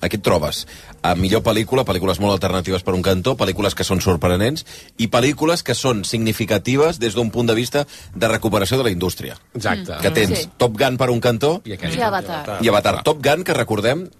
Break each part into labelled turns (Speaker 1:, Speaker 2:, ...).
Speaker 1: Aquí et trobes a millor pel·lícula, pel·lícules molt alternatives per un cantó, pel·lícules que són sorprenents i pel·lícules que són significatives des d'un punt de vista de recuperació de la indústria.
Speaker 2: Exacte.
Speaker 1: Que tens
Speaker 3: Sí.
Speaker 1: Top Gun per un cantó
Speaker 2: Ah. I, aquest,
Speaker 3: I Mm. Avatar.
Speaker 1: i Avatar. Top Gun, que recordem,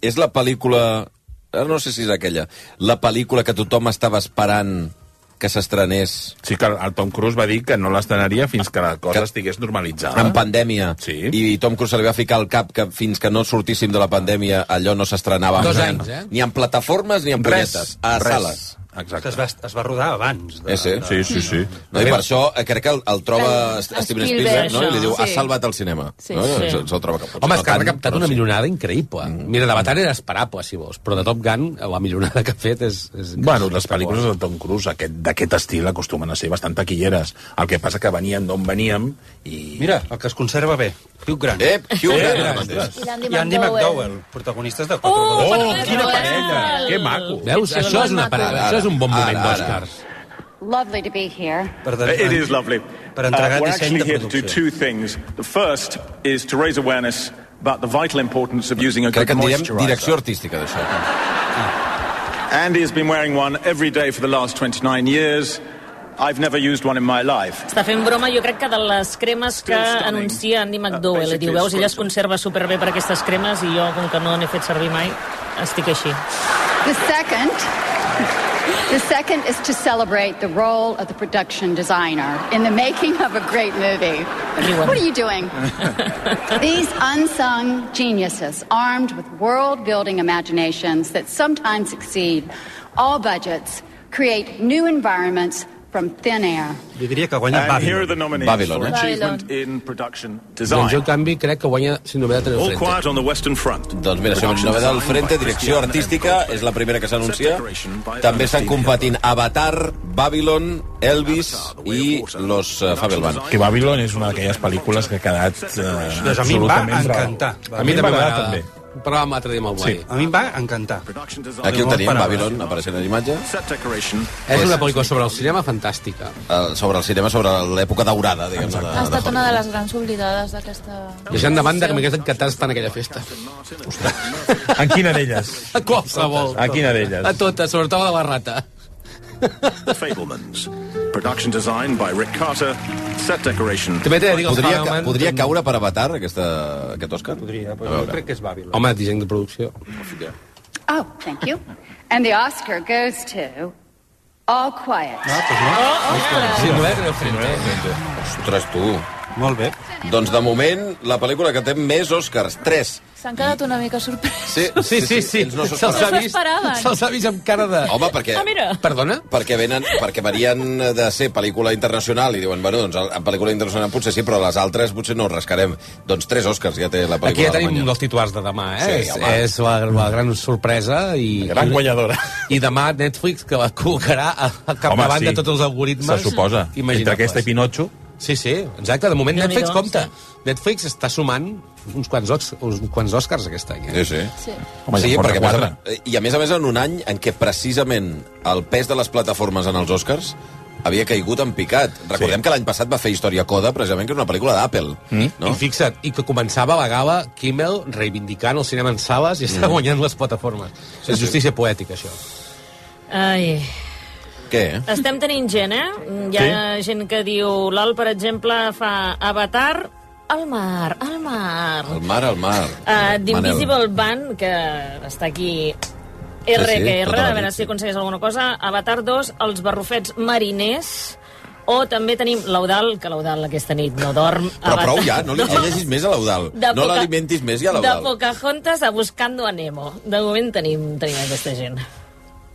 Speaker 1: és la pel·lícula... ara No sé si és aquella. La pel·lícula que tothom estava esperant que s'estrenés
Speaker 4: Sí que el Tom Cruise va dir que no l'estrenaria fins que la cosa
Speaker 1: Que-
Speaker 4: estigués normalitzada.
Speaker 1: en pandèmia
Speaker 4: Sí.
Speaker 1: i Tom Cruise se li va ficar al cap que fins que no sortíssim de la pandèmia allò no s'estrenava
Speaker 2: Dos
Speaker 1: ni-
Speaker 2: anys, eh?
Speaker 1: ni en plataformes ni en
Speaker 4: Res.
Speaker 1: punyetes, a
Speaker 4: res.
Speaker 1: sales
Speaker 4: Exacte.
Speaker 5: Es va, es va rodar abans. De,
Speaker 1: Eh, sí.
Speaker 4: Sí, sí, sí.
Speaker 1: No, I per això eh, crec que el, el troba
Speaker 3: El-
Speaker 1: Steven Spielberg,
Speaker 3: Spielberg,
Speaker 1: no? I li diu,
Speaker 3: això,
Speaker 1: ha
Speaker 3: sí.
Speaker 1: salvat el cinema.
Speaker 3: Sí,
Speaker 1: no?
Speaker 3: sí.
Speaker 1: Se'l- se'l troba que potser
Speaker 2: Home, és que ha
Speaker 1: tant,
Speaker 2: recaptat
Speaker 1: però
Speaker 2: una
Speaker 1: sí.
Speaker 2: millonada increïble.
Speaker 5: Mm.
Speaker 2: Mira, d'Avatar era esperable, si vols, però de Top Gun la millonada que ha fet és... és
Speaker 4: Bueno, les pel·lícules de Tom Cruise aquest- d'aquest estil acostumen a ser bastant taquilleres. El que passa que venien d'on veníem i...
Speaker 5: Mira, el que es conserva bé, Hugh Grant.
Speaker 1: Eh, Hugh Grant, ara mateix.
Speaker 4: Ostres.
Speaker 3: I l'Andy
Speaker 5: I Andy
Speaker 3: McDowell.
Speaker 5: McDowell, protagonistes de Quatre
Speaker 3: Oh,
Speaker 5: oh!
Speaker 4: Oh,
Speaker 3: Manuel
Speaker 4: quina
Speaker 3: Manuel.
Speaker 4: parella! Que maco!
Speaker 2: Veus?
Speaker 3: Sí,
Speaker 2: Això és una
Speaker 3: maco.
Speaker 2: parada, això és un bon
Speaker 1: Ara,
Speaker 2: moment
Speaker 1: ara.
Speaker 2: d'Òscars.
Speaker 6: Lovely to be here.
Speaker 5: per,
Speaker 7: It is lovely.
Speaker 5: per entregar
Speaker 7: Uh, we're
Speaker 5: disseny
Speaker 7: actually
Speaker 5: de
Speaker 7: here to do
Speaker 5: producció.
Speaker 7: two things. The first is to raise awareness about the vital importance of using a good
Speaker 1: Crec que en direm direcció
Speaker 7: moisturizer.
Speaker 1: artística d'això.
Speaker 7: Andy has been wearing one every day for the last 29 years. I've never used one in my life.
Speaker 8: Està fent broma, jo crec que de les cremes que
Speaker 7: Still stunning.
Speaker 8: anuncia Andy McDowell.
Speaker 7: Uh,
Speaker 8: I diu,
Speaker 7: basically
Speaker 8: veus, ella es
Speaker 7: squirtle.
Speaker 8: conserva superbé per aquestes cremes i jo, com que no n'he fet servir mai, estic així.
Speaker 6: The second, the second is to celebrate the role of the production designer in the making of a great movie.
Speaker 8: Everyone.
Speaker 6: What are you doing? These unsung geniuses, armed with world building imaginations that sometimes exceed all budgets, create new environments from thin air.
Speaker 5: Jo diria que guanya
Speaker 7: And here are the
Speaker 5: Babylon.
Speaker 7: nominees
Speaker 1: Babylon,
Speaker 7: for
Speaker 1: eh?
Speaker 7: achievement in production
Speaker 2: Doncs jo, en
Speaker 7: design.
Speaker 2: canvi, crec que guanya sin novedad en el
Speaker 7: All
Speaker 5: Oh,
Speaker 2: frente.
Speaker 7: quiet on the Western Front.
Speaker 1: Doncs mira, això
Speaker 7: Production
Speaker 1: novel·la del
Speaker 7: design
Speaker 1: Frente,
Speaker 7: by
Speaker 1: direcció
Speaker 7: Christian
Speaker 1: artística,
Speaker 7: and
Speaker 1: és la primera que s'anuncia.
Speaker 7: Set decoration by
Speaker 1: També estan
Speaker 7: Ernestine
Speaker 1: competint Avatar, Babylon, Elvis
Speaker 7: Avatar, The Way
Speaker 1: i
Speaker 7: of Water.
Speaker 1: Los eh, Fabelman.
Speaker 4: Que Babylon és una d'aquelles pel·lícules que ha quedat eh,
Speaker 5: Doncs a mi em va encantar.
Speaker 4: A mi també m'agrada,
Speaker 2: m'agrada.
Speaker 4: també.
Speaker 2: Parlàvem l'altre dia amb el Blai.
Speaker 5: A mi em va encantar.
Speaker 7: Production design.
Speaker 1: Aquí ho
Speaker 5: Molt
Speaker 1: tenim,
Speaker 5: parada.
Speaker 1: Babylon, apareixent a l'imatge.
Speaker 7: Set decoration.
Speaker 2: És una pel·lícula sobre el cinema fantàstica.
Speaker 1: Eh, Sobre el cinema, sobre l'època daurada, diguem de,
Speaker 3: Ha
Speaker 1: de
Speaker 3: estat una de les grans oblidades d'aquesta...
Speaker 2: Deixant de banda que m'hagués encantat estar en aquella festa.
Speaker 4: En quina d'elles?
Speaker 2: A qualsevol.
Speaker 4: A quina d'elles?
Speaker 2: A totes, sobretot a la de la rata.
Speaker 7: The Fablemans. Production design by Rick Carter. Set decoration.
Speaker 2: També t'he de dir que els
Speaker 1: Podria, ca
Speaker 2: Fabelman-
Speaker 1: podria caure per Avatar, aquesta, aquest Òscar?
Speaker 5: Podria,
Speaker 1: A
Speaker 5: però jo
Speaker 1: veure.
Speaker 5: crec que és Babylon.
Speaker 2: Home, disseny de producció.
Speaker 6: Oh, thank you. And the Oscar goes to All Quiet.
Speaker 2: Ah! Sin novedad en el frente.
Speaker 1: Ostres, tu.
Speaker 5: Molt bé.
Speaker 1: Doncs de moment, la pel·lícula que té més Oscars, 3.
Speaker 3: S'han quedat una mica sorpresos.
Speaker 1: Sí,
Speaker 2: Sí, sí, sí.
Speaker 1: ells No s'ho
Speaker 2: Se'ls ha
Speaker 1: esperaven.
Speaker 3: esperaven.
Speaker 2: vist,
Speaker 3: No s'ho esperaven.
Speaker 2: se'ls ha vist amb cara de...
Speaker 1: Home, perquè...
Speaker 8: Ah, mira!
Speaker 2: Perdona?
Speaker 1: perquè, venen, perquè venien de ser pel·lícula internacional i diuen, bueno, doncs en pel·lícula internacional potser sí, però les altres potser no rascarem. Doncs tres Oscars ja té la
Speaker 2: Aquí
Speaker 1: pel·lícula
Speaker 2: ja tenim
Speaker 1: alemanya.
Speaker 2: un dels titulars de demà, eh?
Speaker 1: Sí,
Speaker 2: és,
Speaker 1: home.
Speaker 2: és la, la gran sorpresa i...
Speaker 4: Gran guanyadora.
Speaker 2: I demà Netflix que la col·locarà a, a capdavant sí. de tots els algoritmes.
Speaker 4: Se suposa.
Speaker 2: imaginables.
Speaker 4: Entre aquesta i Pinocho,
Speaker 2: Sí, sí, exacte. De moment
Speaker 8: Déu-n'hi-do,
Speaker 2: Netflix compta. Netflix està sumant uns quants, ox, uns quants Oscars aquest any. Eh?
Speaker 1: Sí, sí.
Speaker 3: Sí.
Speaker 4: Home, ja
Speaker 1: sí,
Speaker 4: en porta
Speaker 1: perquè, a més,
Speaker 4: quatre.
Speaker 1: eh, I a més a més en un any en què precisament el pes de les plataformes en els Oscars havia caigut en picat. Recordem
Speaker 4: Sí.
Speaker 1: que l'any passat va fer Història Coda, precisament, que era una pel·lícula d'Apple. Mm.
Speaker 2: No?
Speaker 1: No?
Speaker 2: I fixa't, i que començava la gala Kimmel reivindicant el cinema en sales i està guanyant les plataformes. Sí, és justícia poètica, això.
Speaker 8: Ai...
Speaker 1: Què?
Speaker 8: Estem tenint gent, eh? Hi ha gent que diu... L'Al, per exemple, fa Avatar al mar, al mar.
Speaker 1: El mar, el mar.
Speaker 8: Uh,
Speaker 1: Manel.
Speaker 8: D'Invisible Band, que està aquí RQR,
Speaker 1: Sí, sí, tota la
Speaker 8: a veure
Speaker 1: nit, sí.
Speaker 8: si aconsegueix alguna cosa. Avatar 2, Els barrufets mariners. O també tenim l'Eudal, que l'Eudal aquesta nit no dorm.
Speaker 1: Però
Speaker 8: Avatar-
Speaker 1: prou ja, no li llegeixis més a l'Eudal.
Speaker 8: De
Speaker 1: No
Speaker 8: Poca-
Speaker 1: l'alimentis més ja a
Speaker 8: De
Speaker 1: l'Eudal.
Speaker 8: Pocahontas a Buscando a Nemo. De moment tenim, tenim aquesta gent.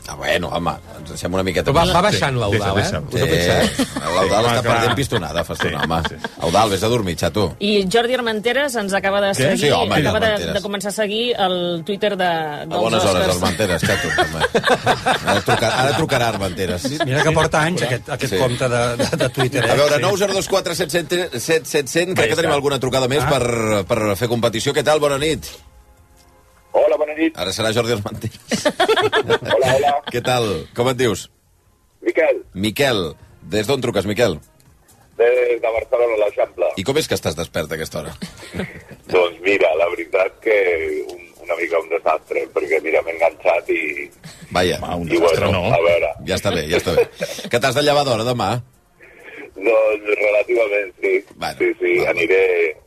Speaker 1: Ah, bueno, home, ens deixem una miqueta...
Speaker 2: Però va,
Speaker 1: més.
Speaker 2: va baixant
Speaker 4: Deixa,
Speaker 2: l'Eudal, eh?
Speaker 4: deixa.
Speaker 2: Us
Speaker 1: Sí,
Speaker 2: ho penseu?
Speaker 1: l'Eudal està perdent pistonada fa estona,
Speaker 4: Sí,
Speaker 1: home.
Speaker 4: sí.
Speaker 1: Eudal, vés a dormir, xato.
Speaker 8: I Jordi Armenteres ens acaba de
Speaker 1: Què?
Speaker 8: seguir,
Speaker 1: Sí, home,
Speaker 8: acaba de,
Speaker 1: Armenteres.
Speaker 8: de, començar a seguir el Twitter de, dels
Speaker 1: A bones hores,
Speaker 8: Oscars.
Speaker 1: Armenteres, xato. home. Ara trucarà, ara trucarà Armenteres.
Speaker 5: Mira que porta anys aquest, aquest
Speaker 1: Sí.
Speaker 5: compte de, de, de Twitter. eh?
Speaker 1: A veure, 9 0 2 4 7 7 7 7 100, crec que tenim alguna trucada
Speaker 4: Ah.
Speaker 1: més per, per fer competició. Què tal? Bona nit.
Speaker 9: Hola, bona nit.
Speaker 1: Ara serà Jordi Armenteres.
Speaker 9: Hola, hola.
Speaker 1: Què tal? Com et dius?
Speaker 9: Miquel,
Speaker 1: Miquel. Des d'on truques, Miquel?
Speaker 9: des de Barcelona, l'Eixample.
Speaker 1: I com és que estàs despert a aquesta hora?
Speaker 9: Doncs mira, la veritat que un, una mica mica un desastre, perquè mira, m'he enganxat i...
Speaker 1: Vaja,
Speaker 4: Home, un
Speaker 9: i
Speaker 4: desastre no.
Speaker 9: A veure,
Speaker 1: ja està bé, ja està bé. Que t'has de llevar d'hora demà?
Speaker 9: doncs relativament sí.
Speaker 1: Bueno,
Speaker 9: sí, sí,
Speaker 1: va, va.
Speaker 9: aniré,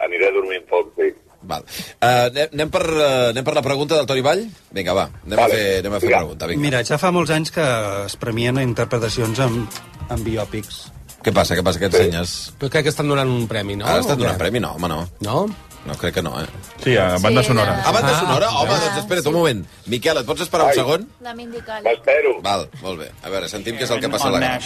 Speaker 9: aniré dormint poc, sí.
Speaker 1: Val. Uh, anem, anem per, uh, anem per la pregunta del Toni Vall? Vinga, va, anem
Speaker 9: Vale.
Speaker 1: a fer, anem a fer
Speaker 9: Vinga.
Speaker 1: pregunta. Vinga.
Speaker 5: Mira, ja fa molts anys que es premien a interpretacions amb, amb biòpics.
Speaker 1: Què passa, què passa, que ensenyes?
Speaker 2: Però crec que estan donant un premi, no?
Speaker 1: Ara estan
Speaker 2: O
Speaker 1: donant
Speaker 2: què?
Speaker 1: premi? No, home, no.
Speaker 2: No?
Speaker 1: No, crec que no, eh?
Speaker 4: Sí, a banda
Speaker 3: Sí,
Speaker 4: sonora.
Speaker 1: A banda
Speaker 2: Ah,
Speaker 1: sonora? Home,
Speaker 3: ja.
Speaker 1: doncs espera't un moment. Miquel, et pots esperar un
Speaker 9: Ai.
Speaker 1: segon?
Speaker 3: La Mindical.
Speaker 9: M'espero.
Speaker 1: Val, molt bé. A veure, sentim què és el que passa a la gana.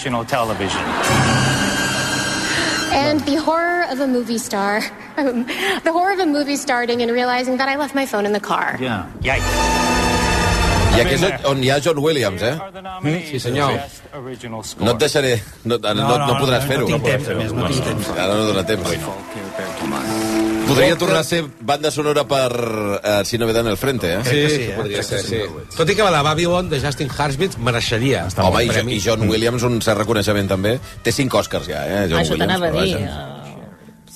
Speaker 10: And the horror of a movie star. Um, the horror of a movie starting and realizing that I left my phone in the car.
Speaker 1: I aquí és on- on hi ha John Williams, eh?
Speaker 2: Sí, senyor.
Speaker 1: No et deixaré... No, no, no, no podràs fer-ho.
Speaker 5: No tinc temps, a més, no tinc temps.
Speaker 1: Ara no dona temps. Podria tornar a ser banda sonora per eh, Si no ve Dan el frente, eh?
Speaker 2: Sí,
Speaker 5: que sí,
Speaker 2: sí,
Speaker 5: eh?
Speaker 2: podria
Speaker 5: Crec que
Speaker 2: ser,
Speaker 5: sí.
Speaker 2: sí. Tot i que la de Babylon de Justin Harsbitz mereixeria.
Speaker 4: Està
Speaker 1: Home,
Speaker 4: molt
Speaker 1: i,
Speaker 4: bé.
Speaker 1: jo, i John Williams, un cert reconeixement també. Té cinc Oscars ja, eh? John
Speaker 8: Ah, Això
Speaker 1: Williams,
Speaker 8: t'anava a
Speaker 1: però
Speaker 8: dir.
Speaker 1: vaja.
Speaker 8: eh,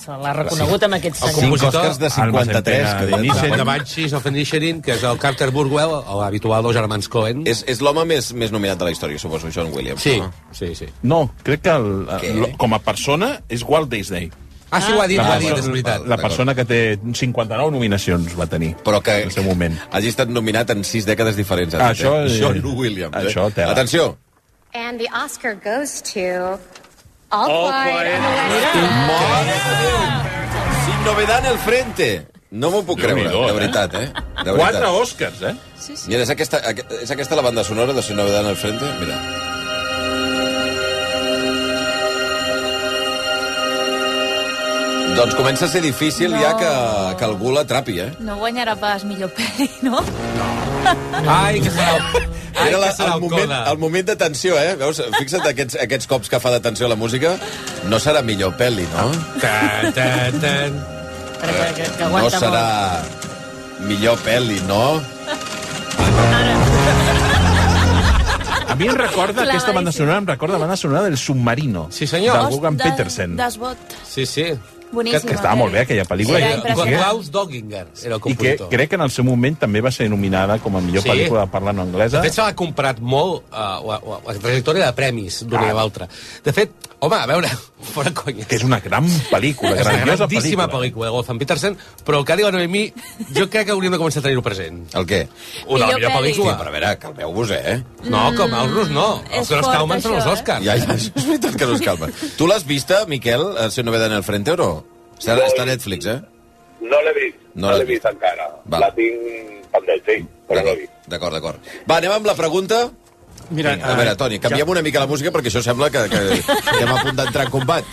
Speaker 8: Se l'ha reconegut amb aquest
Speaker 2: El
Speaker 8: senyor.
Speaker 1: Cinc
Speaker 2: compositor,
Speaker 1: Oscars de
Speaker 4: Alma
Speaker 1: 53.
Speaker 4: Centena,
Speaker 1: que
Speaker 4: de
Speaker 1: ja
Speaker 4: Nissan.
Speaker 1: està.
Speaker 2: de Banshees of Inisherin, que és el Carter Burwell, l'habitual dels germans Cohen.
Speaker 1: És, Ah. és l'home més, més nominat de la història, suposo, John Williams.
Speaker 2: Sí,
Speaker 1: No?
Speaker 2: sí, sí.
Speaker 4: No, crec que el,
Speaker 1: Què?
Speaker 4: el- com a persona és Walt Disney.
Speaker 2: Ah, sí, ho ha dit, ho ha dit,
Speaker 1: persona-
Speaker 2: és veritat.
Speaker 4: la persona que té 59 nominacions va tenir
Speaker 1: Però que
Speaker 4: en el seu moment.
Speaker 1: hagi estat nominat en sis dècades diferents. ha
Speaker 4: Ah,
Speaker 1: dit,
Speaker 4: això-
Speaker 1: eh? John Williams.
Speaker 4: Això
Speaker 1: eh?
Speaker 4: tela.
Speaker 1: Atenció.
Speaker 10: And the Oscar goes to All,
Speaker 6: Oh,
Speaker 7: Quiet
Speaker 10: on the Western
Speaker 1: Sin novedad en el frente. No m'ho puc creure,
Speaker 4: Déu-n'hi-do,
Speaker 1: de
Speaker 4: eh?
Speaker 1: veritat, eh? De veritat.
Speaker 4: Quatre Oscars, eh?
Speaker 1: Mira, és aquesta, aqu- és aquesta la banda sonora de Sin novedad en el frente? Mira. Doncs comença a ser difícil
Speaker 3: No.
Speaker 1: ja que, que algú l'atrapi, eh?
Speaker 3: No guanyarà pas millor pel·li, no?
Speaker 2: Ai, que serà el... Ai,
Speaker 1: Era la,
Speaker 2: que serà
Speaker 1: el, moment, el moment de tensió, eh? Veus? Fixa't aquests, aquests cops que fa de tensió a la música. No serà millor pel·li, no?
Speaker 2: Tan, tan, tan.
Speaker 8: Que, que, que
Speaker 1: No
Speaker 8: aguanta
Speaker 1: serà millor pel·li, no?
Speaker 4: A mi em recorda,
Speaker 3: Claríssim.
Speaker 4: aquesta banda sonora, em recorda la banda sonora del Submarino.
Speaker 2: Sí, senyor.
Speaker 4: Del Gugan
Speaker 3: Host-
Speaker 4: Petersen.
Speaker 3: Desbot.
Speaker 2: Sí, sí.
Speaker 3: Boníssima. eh?
Speaker 4: Que estava molt bé, aquella pel·lícula.
Speaker 3: Era
Speaker 4: I-
Speaker 2: Con
Speaker 3: impressionant.
Speaker 2: Klaus Dogginger era el
Speaker 4: I que
Speaker 2: compositor.
Speaker 4: crec que en el seu moment també va ser nominada com a millor
Speaker 2: Sí.
Speaker 4: pel·lícula de parla no anglesa.
Speaker 2: De fet, se l'ha comprat molt uh, la, la, la trajectòria de premis d'una ah. i l'altra. De fet, home, a veure, fora conya.
Speaker 4: que és una gran pel·lícula,
Speaker 2: és una
Speaker 4: grandiosa
Speaker 2: grandíssima pel·lícula, de Wolfgang Petersen, però el que ha dit la Noemí, jo crec que hauríem de començar a tenir-ho present.
Speaker 1: El què?
Speaker 2: Una
Speaker 3: Millor
Speaker 2: millor
Speaker 3: pel·li. Mm,
Speaker 1: Sí,
Speaker 2: pel·lícula.
Speaker 1: però a veure, calmeu-vos, eh?
Speaker 2: No, com a Urnos no.
Speaker 3: és
Speaker 2: Els que no es
Speaker 3: fort,
Speaker 2: calmen són els
Speaker 3: això, eh?
Speaker 2: Oscars.
Speaker 1: Ja, ja, això és veritat que no es calma. Tu l'has vista, Miquel, el seu novedad en el frente o no? Està, està a Netflix, eh?
Speaker 9: No l'he vist,
Speaker 1: No
Speaker 9: no,
Speaker 1: l'has
Speaker 9: l'he vist,
Speaker 1: vist.
Speaker 9: encara.
Speaker 1: Val.
Speaker 9: La tinc pendent, sí, però no l'he vist.
Speaker 1: D'acord, d'acord. Va, anem amb la pregunta.
Speaker 5: Mira,
Speaker 1: A veure, Toni, canviem una mica la música perquè això sembla que, que estem a punt d'entrar en combat.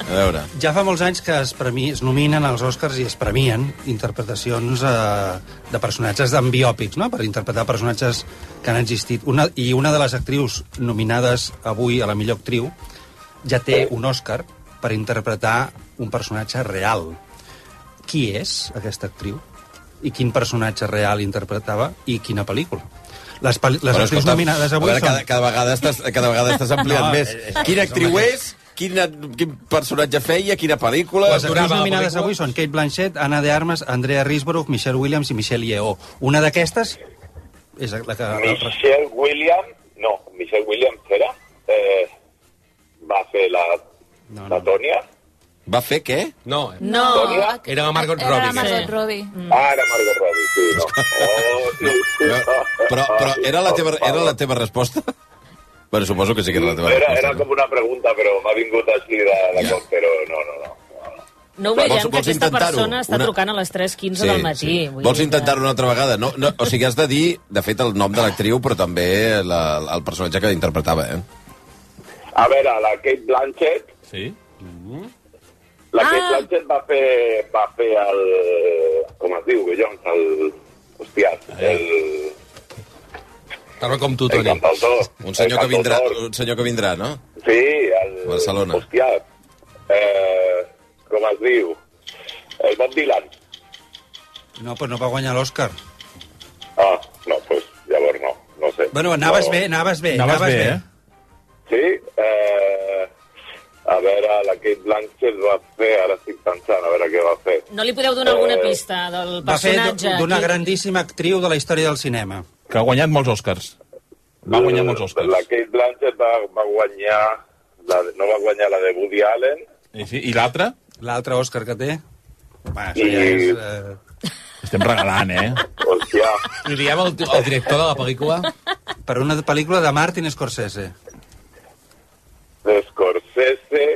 Speaker 1: A veure.
Speaker 5: Ja fa molts anys que es, premi, es nominen als Oscars i es premien interpretacions eh, de personatges d'en biòpics, no? per interpretar personatges que han existit. Una, I una de les actrius nominades avui a la millor actriu ja té un Oscar per interpretar un personatge real. Qui és aquesta actriu? I quin personatge real interpretava? I quina pel·lícula? Les, pel les
Speaker 1: Bueno,
Speaker 5: actrius
Speaker 1: escolta'm,
Speaker 5: nominades
Speaker 1: a
Speaker 5: avui
Speaker 1: veure,
Speaker 5: són...
Speaker 1: cada, cada, vegada estàs, cada vegada estàs ampliant
Speaker 5: No,
Speaker 1: més.
Speaker 5: és- és-
Speaker 1: Quina
Speaker 5: és
Speaker 1: actriu
Speaker 5: home,
Speaker 1: és? Quina, quin personatge feia? Quina pel·lícula?
Speaker 5: Les actrius
Speaker 2: Durava la
Speaker 5: nominades
Speaker 2: pel·lícula?
Speaker 5: avui són Kate Blanchett, Anna de Armas, Andrea Risborough, Michelle Williams i Michelle Yeoh. Una d'aquestes és la que...
Speaker 1: Eh,
Speaker 5: La...
Speaker 9: Michelle Williams, no, Michelle Williams era, eh, va ser la,
Speaker 5: No,
Speaker 9: la
Speaker 5: no.
Speaker 9: Tònia.
Speaker 1: Va fer què?
Speaker 2: No, eh?
Speaker 8: No,
Speaker 9: Tònia?
Speaker 2: era la Margot
Speaker 3: Era la
Speaker 2: Robbie.
Speaker 3: Margot
Speaker 8: Sí.
Speaker 3: Robbie.
Speaker 9: Ah, era Margot Robbie, sí, no. Oh, sí, sí.
Speaker 1: Però, però era, la teva, era la teva resposta? Bueno, suposo que sí que era la teva
Speaker 9: Era,
Speaker 1: resposta.
Speaker 9: era com una pregunta, però m'ha vingut així de, de cop, però no, no, no.
Speaker 8: no
Speaker 1: Vols-
Speaker 8: oblidem
Speaker 1: vols
Speaker 8: que aquesta
Speaker 1: intentar-ho?
Speaker 8: persona està
Speaker 1: Una-
Speaker 8: trucant a les 3.15 del matí. vull
Speaker 1: Vols
Speaker 8: dir que-
Speaker 1: intentar-ho una altra vegada? No, no, o sigui, has de dir, de fet, el nom de l'actriu, però també la, el personatge que interpretava, eh?
Speaker 9: A veure, la Kate Blanchett,
Speaker 4: Sí?
Speaker 9: la
Speaker 8: Ah.
Speaker 9: Kate Blanchett va fer, va fer el... Com es diu, Bellons? El... Hòstia, el...
Speaker 2: Tarda com tu,
Speaker 9: El
Speaker 2: Toni.
Speaker 9: cantautor.
Speaker 1: Un senyor,
Speaker 9: el
Speaker 1: que vindrà,
Speaker 9: cantautor.
Speaker 1: un senyor que vindrà, no?
Speaker 9: Sí, el...
Speaker 1: Barcelona.
Speaker 9: Hòstia, eh, com es diu? El Bob Dylan.
Speaker 5: No, però no va guanyar l'Oscar.
Speaker 9: Ah, no, doncs pues, llavors no, no sé.
Speaker 5: Bueno, anaves
Speaker 9: no.
Speaker 5: bé, anaves bé.
Speaker 4: Anaves bé, eh?
Speaker 9: Sí, eh, a veure, la Kate Blanchett va fer, ara estic pensant a veure què va fer.
Speaker 8: No li podeu donar alguna pista del
Speaker 5: Va fer d-
Speaker 8: personatge?
Speaker 5: d'una
Speaker 8: Qui-
Speaker 5: grandíssima actriu de la història del cinema.
Speaker 4: Que ha guanyat molts Oscars. Va guanyar molts Oscars.
Speaker 9: La Kate Blanchett va, va guanyar, la, de- no va guanyar la de Woody Allen,
Speaker 4: I, sí, i l'altre?
Speaker 5: L'altre Òscar que té... Va, això
Speaker 9: I-
Speaker 5: ja és... Eh...
Speaker 4: Estem regalant, eh?
Speaker 9: hòstia,
Speaker 2: I diem el, el director de la pel·lícula?
Speaker 5: Per una pel·lícula de Martin Scorsese.
Speaker 9: de Scorsese,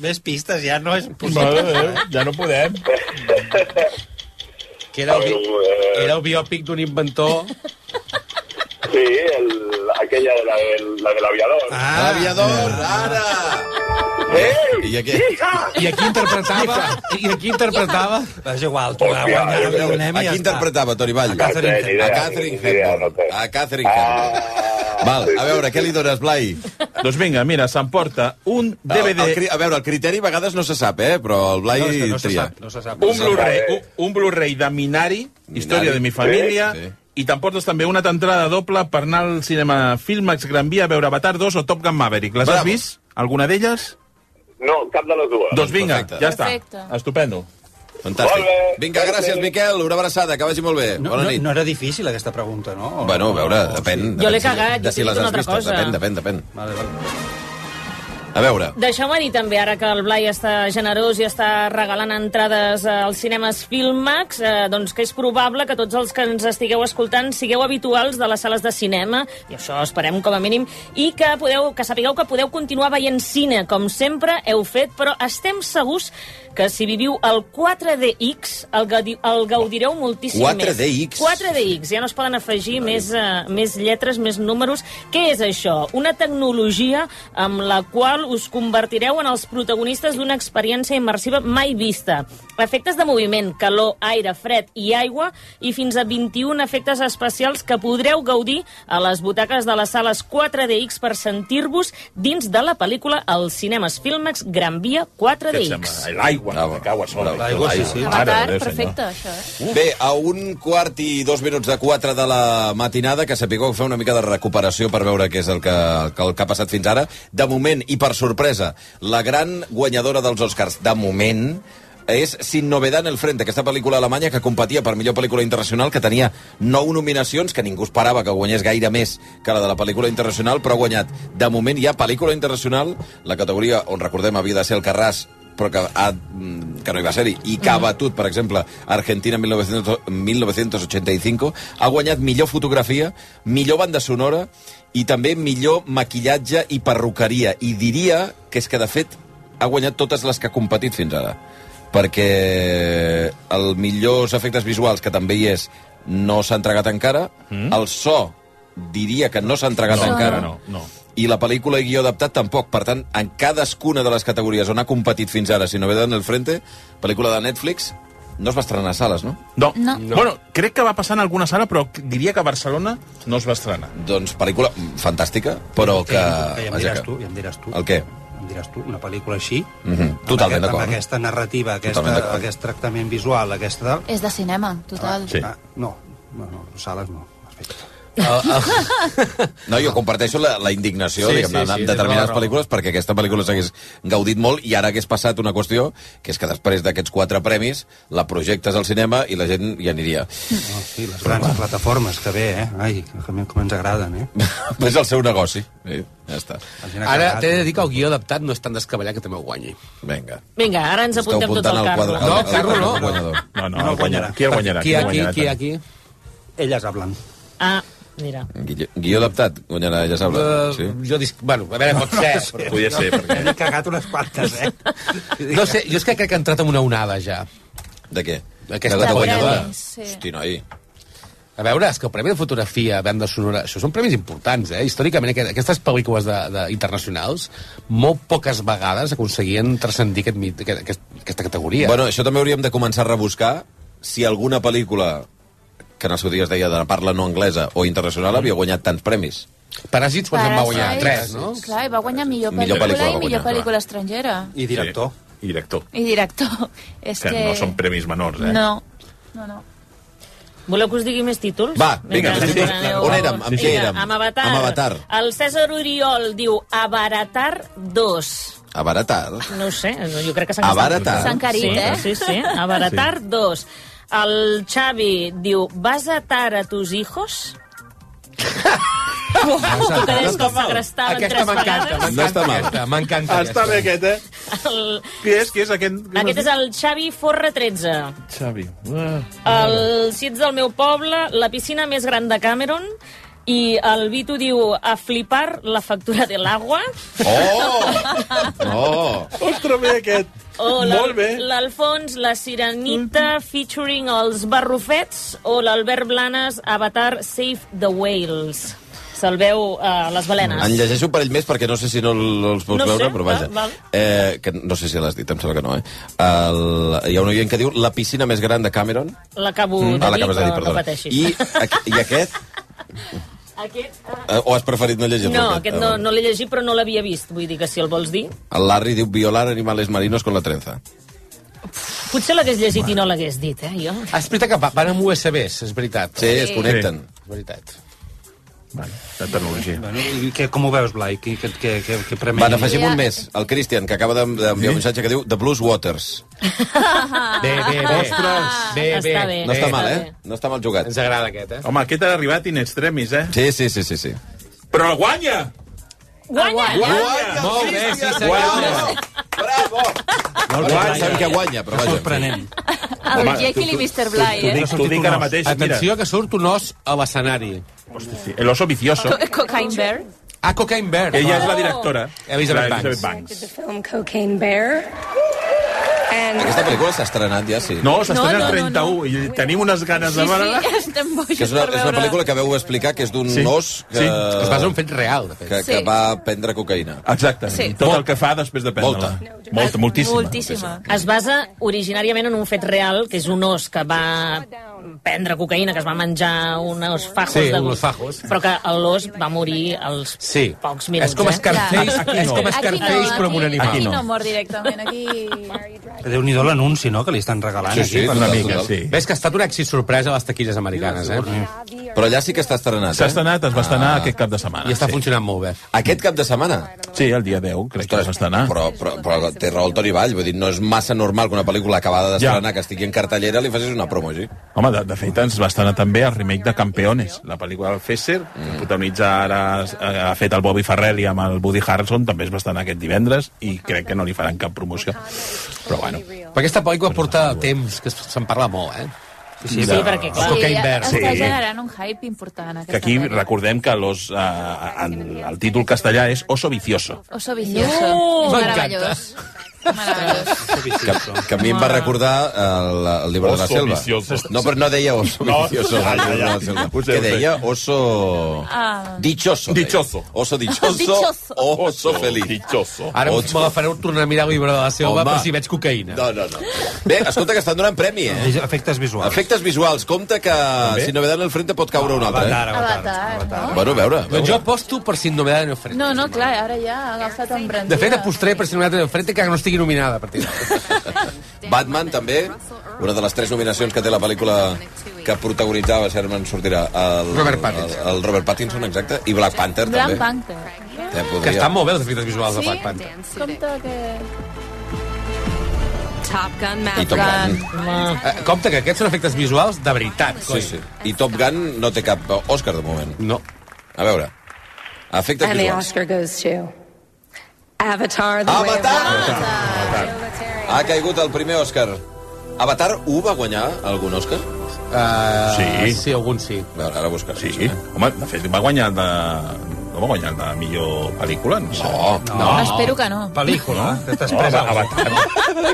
Speaker 5: Més pistes ja no és
Speaker 4: Mare
Speaker 5: possible.
Speaker 2: eh?
Speaker 4: de Déu, ja no podem.
Speaker 2: Que era el, bi-
Speaker 1: eh,
Speaker 2: era el biòpic d'un inventor.
Speaker 9: sí, el, aquella de la, del- la de l'aviador. Ah.
Speaker 1: Ah,
Speaker 5: Ah,
Speaker 1: Aviador, ara!
Speaker 9: Ei,
Speaker 1: I aquí...
Speaker 2: I aquí interpretava... I aquí interpretava...
Speaker 5: és igual, tu va
Speaker 9: Hòstia,
Speaker 5: guanyar
Speaker 9: jo
Speaker 5: el
Speaker 9: què
Speaker 5: Déu
Speaker 9: sé.
Speaker 5: Nemi ja
Speaker 1: A
Speaker 5: està.
Speaker 1: qui interpretava, Toni Vall?
Speaker 5: A Catherine
Speaker 9: Catherine
Speaker 1: A
Speaker 9: Hepburn.
Speaker 1: Catherine
Speaker 9: Ni idea,
Speaker 1: Hepburn.
Speaker 9: no té. Ah.
Speaker 1: A Catherine Hepburn. Val, a veure, què li dones, Blai?
Speaker 4: doncs vinga, mira, s'emporta un
Speaker 1: El, Ah, el,
Speaker 4: DVD...
Speaker 1: cri- a veure, el criteri a vegades no se sap, eh? Però el Blai
Speaker 5: No, és que no se
Speaker 1: tria.
Speaker 5: sap, no se sap.
Speaker 4: un Blu-ray un, un Blu-ray de Minari,
Speaker 1: Minari.
Speaker 4: Història de mi família,
Speaker 1: Sí, sí.
Speaker 4: i t'emportes també una entrada doble per anar al cinema Filmax Gran Via a veure Avatar 2 o Top Gun Maverick. Les
Speaker 1: Bravo.
Speaker 4: has vist? Alguna d'elles?
Speaker 9: No, cap de les dues.
Speaker 4: Doncs vinga,
Speaker 1: perfecte.
Speaker 4: ja està.
Speaker 3: Perfecte.
Speaker 4: Estupendo.
Speaker 1: Fantàstic.
Speaker 9: Molt bé.
Speaker 1: Vinga, gràcies, Miquel. Una abraçada, que vagi molt bé.
Speaker 5: No,
Speaker 1: Bona
Speaker 5: no,
Speaker 1: nit.
Speaker 5: no era difícil, aquesta pregunta, no?
Speaker 1: Bueno, a veure, depèn...
Speaker 5: Sí.
Speaker 1: depèn
Speaker 8: l'he
Speaker 1: si-
Speaker 8: cagat,
Speaker 1: de
Speaker 8: jo he dit una altra
Speaker 1: vistes.
Speaker 8: cosa.
Speaker 1: Depèn, depèn, depèn.
Speaker 5: Vale, vale.
Speaker 1: A veure,
Speaker 8: Deixeu-me dir també, ara que el Blai està generós i està regalant entrades eh, als cinemes Filmax, eh, doncs que és probable que tots els que ens estigueu escoltant sigueu habituals de les sales de cinema, i això esperem com a mínim, i que, podeu, que sapigueu que podeu continuar veient cine, com sempre heu fet, però estem segurs que si viviu el 4DX el, gaudi, el gaudireu moltíssim
Speaker 1: 4DX.
Speaker 8: més. 4DX, ja no es poden afegir més, uh, més lletres, més números. Què és això? Una tecnologia amb la qual us convertireu en els protagonistes d'una experiència immersiva mai vista. Efectes de moviment, calor, aire, fred i aigua i fins a 21 efectes especials que podreu gaudir a les butaques de les sales 4DX per sentir-vos dins de la pel·lícula als cinemes Filmex Gran Via
Speaker 4: Què et
Speaker 8: 4DX.
Speaker 4: sembla? L'aigua,
Speaker 1: Bravo.
Speaker 4: me cago a sobre.
Speaker 5: L'aigua, sí, sí.
Speaker 4: Mare de
Speaker 3: Avatar,
Speaker 4: Déu, senyor.
Speaker 3: perfecte, això, eh?
Speaker 1: Bé, a un quart i dos minuts de quatre de la matinada, que sapigueu que fer una mica de recuperació per veure què és el que, el que ha passat fins ara. De moment, i per sorpresa, la gran guanyadora dels Oscars, de moment, és Sin novedad en el frente, aquesta pel·lícula alemanya que competia per millor pel·lícula internacional, que tenia nou nominacions, que ningú esperava que guanyés gaire més que la de la pel·lícula internacional, però ha guanyat. De moment hi ha pel·lícula internacional, la categoria on recordem havia de ser el Carràs, però que, ha, mm, que no hi va ser-hi, i que ha batut, per exemple, Argentina 1900, 1985, ha guanyat millor fotografia, millor banda sonora i també millor maquillatge i perruqueria. I diria que és que, de fet, ha guanyat totes les que ha competit fins ara. Perquè el millors efectes visuals, que també hi és, no s'ha entregat encara. Mm? El so diria que no s'ha entregat
Speaker 4: No,
Speaker 1: encara
Speaker 4: no, no.
Speaker 1: i la pel·lícula i guió adaptat tampoc. Per tant, en cadascuna de les categories on ha competit fins ara, si no ve en el frente, pel·lícula de Netflix, no es va estrenar a sales, no?
Speaker 4: No.
Speaker 3: No.
Speaker 4: Bueno, crec que va passar en alguna sala, però diria que a Barcelona no es va estrenar.
Speaker 1: Doncs pel·lícula mm, fantàstica, però que...
Speaker 5: ja em
Speaker 1: vaja,
Speaker 5: diràs
Speaker 1: que-
Speaker 5: tu, ja em diràs tu.
Speaker 1: El què?
Speaker 5: Em diràs tu, una pel·lícula així,
Speaker 1: Mhm,
Speaker 5: amb
Speaker 1: totalment
Speaker 5: aquest-
Speaker 1: d'acord.
Speaker 5: Amb aquesta narrativa,
Speaker 1: Totalment
Speaker 5: aquesta,
Speaker 1: d'acord.
Speaker 5: aquest tractament visual, aquesta...
Speaker 3: És de cinema, total.
Speaker 4: Sí.
Speaker 5: Ah, no, no, no, sales no. Perfecte.
Speaker 1: No, jo comparteixo la, la indignació
Speaker 2: Sí,
Speaker 1: sí, diguem,
Speaker 2: sí, sí,
Speaker 1: sí, en
Speaker 2: tens
Speaker 1: determinades
Speaker 2: tota la raó.
Speaker 1: pel·lícules perquè aquesta pel·lícula s'hagués gaudit molt i ara hagués passat una qüestió que és que després d'aquests quatre premis la projectes al cinema i la gent hi aniria.
Speaker 5: Oh, sí, les grans plataformes, que bé, eh? Ai, com, com ens agraden, eh?
Speaker 1: és el seu negoci. Sí, ja està.
Speaker 5: La gent ha
Speaker 2: Ara
Speaker 5: cagat.
Speaker 2: t'he de dir que el guió adaptat no és tan descabellat que també ho guanyi.
Speaker 1: Vinga.
Speaker 8: Vinga, ara ens
Speaker 1: Esteu
Speaker 8: apuntem tots
Speaker 1: apuntant
Speaker 8: al
Speaker 1: al
Speaker 8: carro.
Speaker 1: quadre.
Speaker 2: No, Carro no.
Speaker 1: guanyador.
Speaker 4: No, no,
Speaker 5: No
Speaker 4: Ah, el guanyarà.
Speaker 5: guanyarà.
Speaker 4: Qui el guanyarà?
Speaker 2: Qui aquí,
Speaker 4: guanyarà
Speaker 2: qui
Speaker 4: tant?
Speaker 2: aquí?
Speaker 5: Elles hablan.
Speaker 8: Ah, mira.
Speaker 1: Guió, guió adaptat, guanyarà, ja sabrà.
Speaker 2: Uh,
Speaker 1: sí.
Speaker 2: Jo dic... Bueno, a veure, pot ser. però-
Speaker 4: Podria ser, perquè...
Speaker 5: N'he cagat unes quantes, eh?
Speaker 2: No sé, jo és que crec que ha entrat en una onada ja.
Speaker 1: De què?
Speaker 2: Aquesta
Speaker 1: de
Speaker 2: guanyadora.
Speaker 3: Sí.
Speaker 1: Hosti, noi.
Speaker 2: A veure, és que el Premi de Fotografia, banda sonora, això són premis importants, eh? Històricament, aqu- aquestes pel·lícules de, de, internacionals molt poques vegades aconseguien transcendir aquest, mit- aquest, aquest, aquesta categoria.
Speaker 1: Bueno, això també hauríem de començar a rebuscar si alguna pel·lícula que en el seu dia es deia de parla no anglesa o internacional havia guanyat tants premis.
Speaker 2: Paràsits, quan en va guanyar? Tres, no?
Speaker 3: Clar, i va guanyar millor
Speaker 1: Millor
Speaker 3: pel·lícula,
Speaker 1: pel·lícula va
Speaker 3: i millor
Speaker 1: guanyar,
Speaker 3: pel·lícula estrangera.
Speaker 5: I director. Sí.
Speaker 4: I director.
Speaker 3: I director. És
Speaker 4: Que,
Speaker 3: que...
Speaker 4: no són premis menors, eh?
Speaker 3: No, no, no.
Speaker 8: Voleu que us digui més títols?
Speaker 1: Va, vinga,
Speaker 8: Mentre
Speaker 1: més títols.
Speaker 8: espereu-
Speaker 1: On érem? Amb
Speaker 8: Vinga,
Speaker 1: què érem?
Speaker 8: Amb Avatar.
Speaker 1: Amb Avatar.
Speaker 8: El César Oriol diu Avaratar 2.
Speaker 1: Abaratar?
Speaker 8: No ho sé, no, jo crec que s'han
Speaker 1: Abaratar.
Speaker 8: gastat.
Speaker 1: S'han carit,
Speaker 8: sí,
Speaker 1: eh?
Speaker 8: Sí, sí, Abaratar 2. El Xavi diu, vas a atar a tus hijos?
Speaker 2: Vas a
Speaker 8: Tu
Speaker 2: atar.
Speaker 8: creus que
Speaker 2: No està
Speaker 8: els
Speaker 2: mal.
Speaker 8: segrestaven
Speaker 2: Aquesta
Speaker 8: tres
Speaker 2: m'encanta,
Speaker 8: vegades?
Speaker 2: m'encanta
Speaker 1: No està mal.
Speaker 2: aquesta, m'encanta
Speaker 4: Està bé aquest, eh?
Speaker 8: El...
Speaker 4: Qui és? Qui és aquest?
Speaker 8: Aquest és el Xavi Forra 13.
Speaker 4: Xavi. Ah.
Speaker 8: El Si ets del meu poble, la piscina més gran de Cameron, i el Vito diu a flipar la factura de l'aigua.
Speaker 1: Oh! Oh!
Speaker 4: Ostres, bé aquest.
Speaker 8: O l'Al-
Speaker 4: Molt bé.
Speaker 8: l'Alfons, la Sirenita, featuring els Barrufets, o l'Albert Blanes, Avatar Save the Whales. Salveu uh, les balenes.
Speaker 1: En llegeixo un parell més perquè no sé si no l- els puc
Speaker 8: No sé,
Speaker 1: veure, però vaja.
Speaker 8: val, val.
Speaker 1: Eh, que no sé si l'has dit, em sembla que no, eh? El, hi ha un oient que diu la piscina més gran de Cameron.
Speaker 8: L'acabo de,
Speaker 1: Ah,
Speaker 8: dir,
Speaker 1: l'acabes de dir,
Speaker 8: però no
Speaker 1: perdona.
Speaker 8: pateixis.
Speaker 1: I, aqu- I aquest?
Speaker 8: Aquest, eh,
Speaker 1: Eh, O has preferit no llegir-lo? Ah,
Speaker 8: no, aquest no, no l'he llegit, però no l'havia vist. Vull dir que si el vols dir...
Speaker 1: El Larry diu violar animales marinos con la trenza.
Speaker 8: Potser l'hagués llegit i no l'hagués dit, eh, jo.
Speaker 2: És veritat que va- van amb USBs, és veritat.
Speaker 1: Sí, es connecten.
Speaker 2: És veritat.
Speaker 4: Bueno, la tecnologia.
Speaker 5: Bueno, i que, com ho veus, Blai? Que, que, que, que, que premi...
Speaker 1: Va, n'afegim
Speaker 6: Ja.
Speaker 1: un més. El Christian, que acaba d'en- d'enviar un missatge que diu The Blues Waters.
Speaker 2: Bé, bé, bé. Bé, bé.
Speaker 8: Està bé.
Speaker 1: No està mal,
Speaker 8: Està
Speaker 1: eh? No està mal jugat.
Speaker 2: Ens agrada aquest, eh?
Speaker 4: Home, aquest ha arribat in extremis, eh?
Speaker 1: Sí, sí, sí, sí. sí.
Speaker 4: Però guanya!
Speaker 3: Ah,
Speaker 8: Guanya!
Speaker 4: Guanya!
Speaker 1: Oh,
Speaker 2: Molt bé, sí,
Speaker 4: Guanya!
Speaker 2: senyor.
Speaker 1: Bravo!
Speaker 5: Molt bé, Blai.
Speaker 1: Pensem que guanya, però vaja.
Speaker 5: Sorprenent.
Speaker 4: Home,
Speaker 3: El Jekyll i
Speaker 4: tu-
Speaker 3: Mr. Bly, eh?
Speaker 4: Dic- T'ho dic ara mateix, mira.
Speaker 2: Atenció, que surt un os a l'escenari.
Speaker 4: Hosti, sí. El oso vicioso.
Speaker 3: Co- Cocaine Bear.
Speaker 2: A Cocaine Bear.
Speaker 4: Ella és la directora.
Speaker 2: Elizabeth
Speaker 4: La
Speaker 2: Banks.
Speaker 4: Banks.
Speaker 11: film Cocaine Bear. And
Speaker 1: Aquesta pel·lícula s'ha estrenat ja, sí.
Speaker 4: No,
Speaker 3: No,
Speaker 4: s'estrena el
Speaker 3: no, no,
Speaker 4: 31 i tenim unes ganes de
Speaker 3: Sí,
Speaker 4: veure-la.
Speaker 3: sí, estem bojos
Speaker 1: Que és una,
Speaker 3: per
Speaker 1: és una
Speaker 3: veure.
Speaker 1: pel·lícula que veu explicar que és d'un
Speaker 4: Sí.
Speaker 1: os que,
Speaker 4: Sí.
Speaker 2: Es basa en un fet real, de fet.
Speaker 1: que, que
Speaker 3: Sí.
Speaker 1: va prendre cocaïna.
Speaker 4: Exacte,
Speaker 3: Sí.
Speaker 4: tot el que fa després de prendre-la.
Speaker 1: Molta.
Speaker 4: Molta, moltíssima.
Speaker 3: Moltíssima.
Speaker 8: Es basa originàriament en un fet real, que és un os que va prendre cocaïna, que es va menjar unos fajos.
Speaker 2: Sí,
Speaker 8: de...
Speaker 2: unos fajos.
Speaker 8: Però que l'os va morir als
Speaker 2: Sí.
Speaker 8: pocs minuts.
Speaker 2: És com Scarface,
Speaker 8: Eh?
Speaker 4: Aquí
Speaker 2: és
Speaker 4: no.
Speaker 3: Aquí
Speaker 2: com
Speaker 3: no,
Speaker 2: Scarface, però amb un
Speaker 3: aquí-
Speaker 2: animal.
Speaker 3: Aquí no mor directament, aquí...
Speaker 5: Déu-n'hi-do l'anunci, no?, que li estan regalant.
Speaker 1: Sí, sí,
Speaker 5: aquí, per
Speaker 1: total,
Speaker 4: Una
Speaker 5: la-
Speaker 4: mica,
Speaker 1: total.
Speaker 4: sí.
Speaker 2: Ves que ha estat un èxit sorpresa a les taquilles americanes, eh?
Speaker 1: Però allà sí que està estrenat,
Speaker 4: S'ha
Speaker 1: eh?
Speaker 4: estrenat, es va estrenar aquest cap de setmana.
Speaker 2: I està
Speaker 4: sí.
Speaker 2: funcionant molt bé.
Speaker 1: Aquest cap de setmana?
Speaker 4: Sí, el dia 10, crec que es va estrenar.
Speaker 1: Però, però, però té raó el Toni Vall, vull dir, no és massa normal que una pel·lícula acabada d'estrenar
Speaker 4: Ja.
Speaker 1: que estigui en cartellera li facis una promo, sí?
Speaker 4: Home, de, de fet, ens va estrenar també el remake de Campeones, la pel·lícula del Fesser, que protagonitza ara, eh, ha fet el Bobby Farrelly amb el Woody Harrelson, també es va estrenar aquest divendres, i crec que no li faran cap promoció. Però bueno,
Speaker 2: Però aquesta pel·lícula porta temps, que se'n parla molt, eh?
Speaker 8: Sí, sí, perquè, clar,
Speaker 2: Sí. Cocaine
Speaker 3: ja-
Speaker 2: Bear,
Speaker 3: Està
Speaker 4: sí.
Speaker 3: generant un hype important,
Speaker 4: que
Speaker 3: aquesta
Speaker 4: aquí
Speaker 3: pel·lícula.
Speaker 4: recordem que los, eh, en, el títol castellà és Oso Vicioso.
Speaker 3: Oso vicioso.
Speaker 8: No!
Speaker 3: és
Speaker 2: M'encanta.
Speaker 3: meravellós. És meravellós.
Speaker 1: Que, que a mi em va recordar eh, el, el llibre de la
Speaker 4: Oso
Speaker 1: selva.
Speaker 4: vicioso.
Speaker 1: No, però no deia oso
Speaker 4: No.
Speaker 1: vicioso.
Speaker 4: Ah,
Speaker 1: al
Speaker 4: ja,
Speaker 1: llibre de la
Speaker 4: ja.
Speaker 1: selva.
Speaker 4: Ho sé,
Speaker 1: Que
Speaker 4: ho sé.
Speaker 1: deia oso...
Speaker 3: Ah.
Speaker 1: Dichoso. deia.
Speaker 4: Dichoso.
Speaker 1: Oso dichoso.
Speaker 3: Dichoso.
Speaker 1: Oso feliz.
Speaker 4: Dichoso. Ah,
Speaker 2: Ara
Speaker 1: Oh,
Speaker 2: me la fareu tornar a mirar el llibre de la selva
Speaker 1: Home.
Speaker 2: per si veig cocaïna.
Speaker 1: No, no, no. Bé, escolta, que estan donant premi, eh?
Speaker 5: Efectes visuals.
Speaker 1: Efectes visuals, compte que si no ve en el frente pot caure
Speaker 4: Ah,
Speaker 1: un altre.
Speaker 5: Avatar, avatar.
Speaker 3: Avatar,
Speaker 5: avatar.
Speaker 1: Eh? Bueno, a veure. a veure.
Speaker 2: Doncs jo aposto per si novedad en el frente.
Speaker 3: No, no, clar, ara ja ha agafat en Brandon.
Speaker 2: De fet, apostaré per si novedad en el frente que no estigui nominada a partir d'ara.
Speaker 1: Batman també, una de les tres nominacions que té la pel·lícula que protagonitzava Sherman sortirà el
Speaker 2: Robert Pattinson.
Speaker 1: El, el Robert Pattinson, exacte, i Black Panther
Speaker 3: Black
Speaker 1: també.
Speaker 3: Panther.
Speaker 1: Eh, podria.
Speaker 2: Que estan molt bé els efectes visuals de Black Panther.
Speaker 3: Compte que...
Speaker 11: Top Gun
Speaker 1: I Top Gun.
Speaker 2: Eh, compte que aquests són efectes visuals de veritat,
Speaker 1: Sí,
Speaker 2: coi.
Speaker 1: sí. I Top Gun no té cap Oscar de moment.
Speaker 2: No.
Speaker 1: A veure. Efectes
Speaker 11: And the
Speaker 1: visuals.
Speaker 11: Oscar goes to Avatar. The Way of
Speaker 1: Avatar!
Speaker 11: Water.
Speaker 1: Ha caigut el primer Oscar. Avatar 1 va guanyar algun Oscar?
Speaker 2: Uh,
Speaker 4: Sí.
Speaker 2: Sí, alguns sí.
Speaker 1: A veure, ara buscaré.
Speaker 4: Sí, sí. Home, de fet, va guanyar el de... No va guanyar el de millor pel·lícula? No, sé.
Speaker 1: No,
Speaker 5: No.
Speaker 3: Espero que no.
Speaker 5: Pel·lícula, que
Speaker 4: no,
Speaker 5: t'espres
Speaker 4: Ava- Avatar.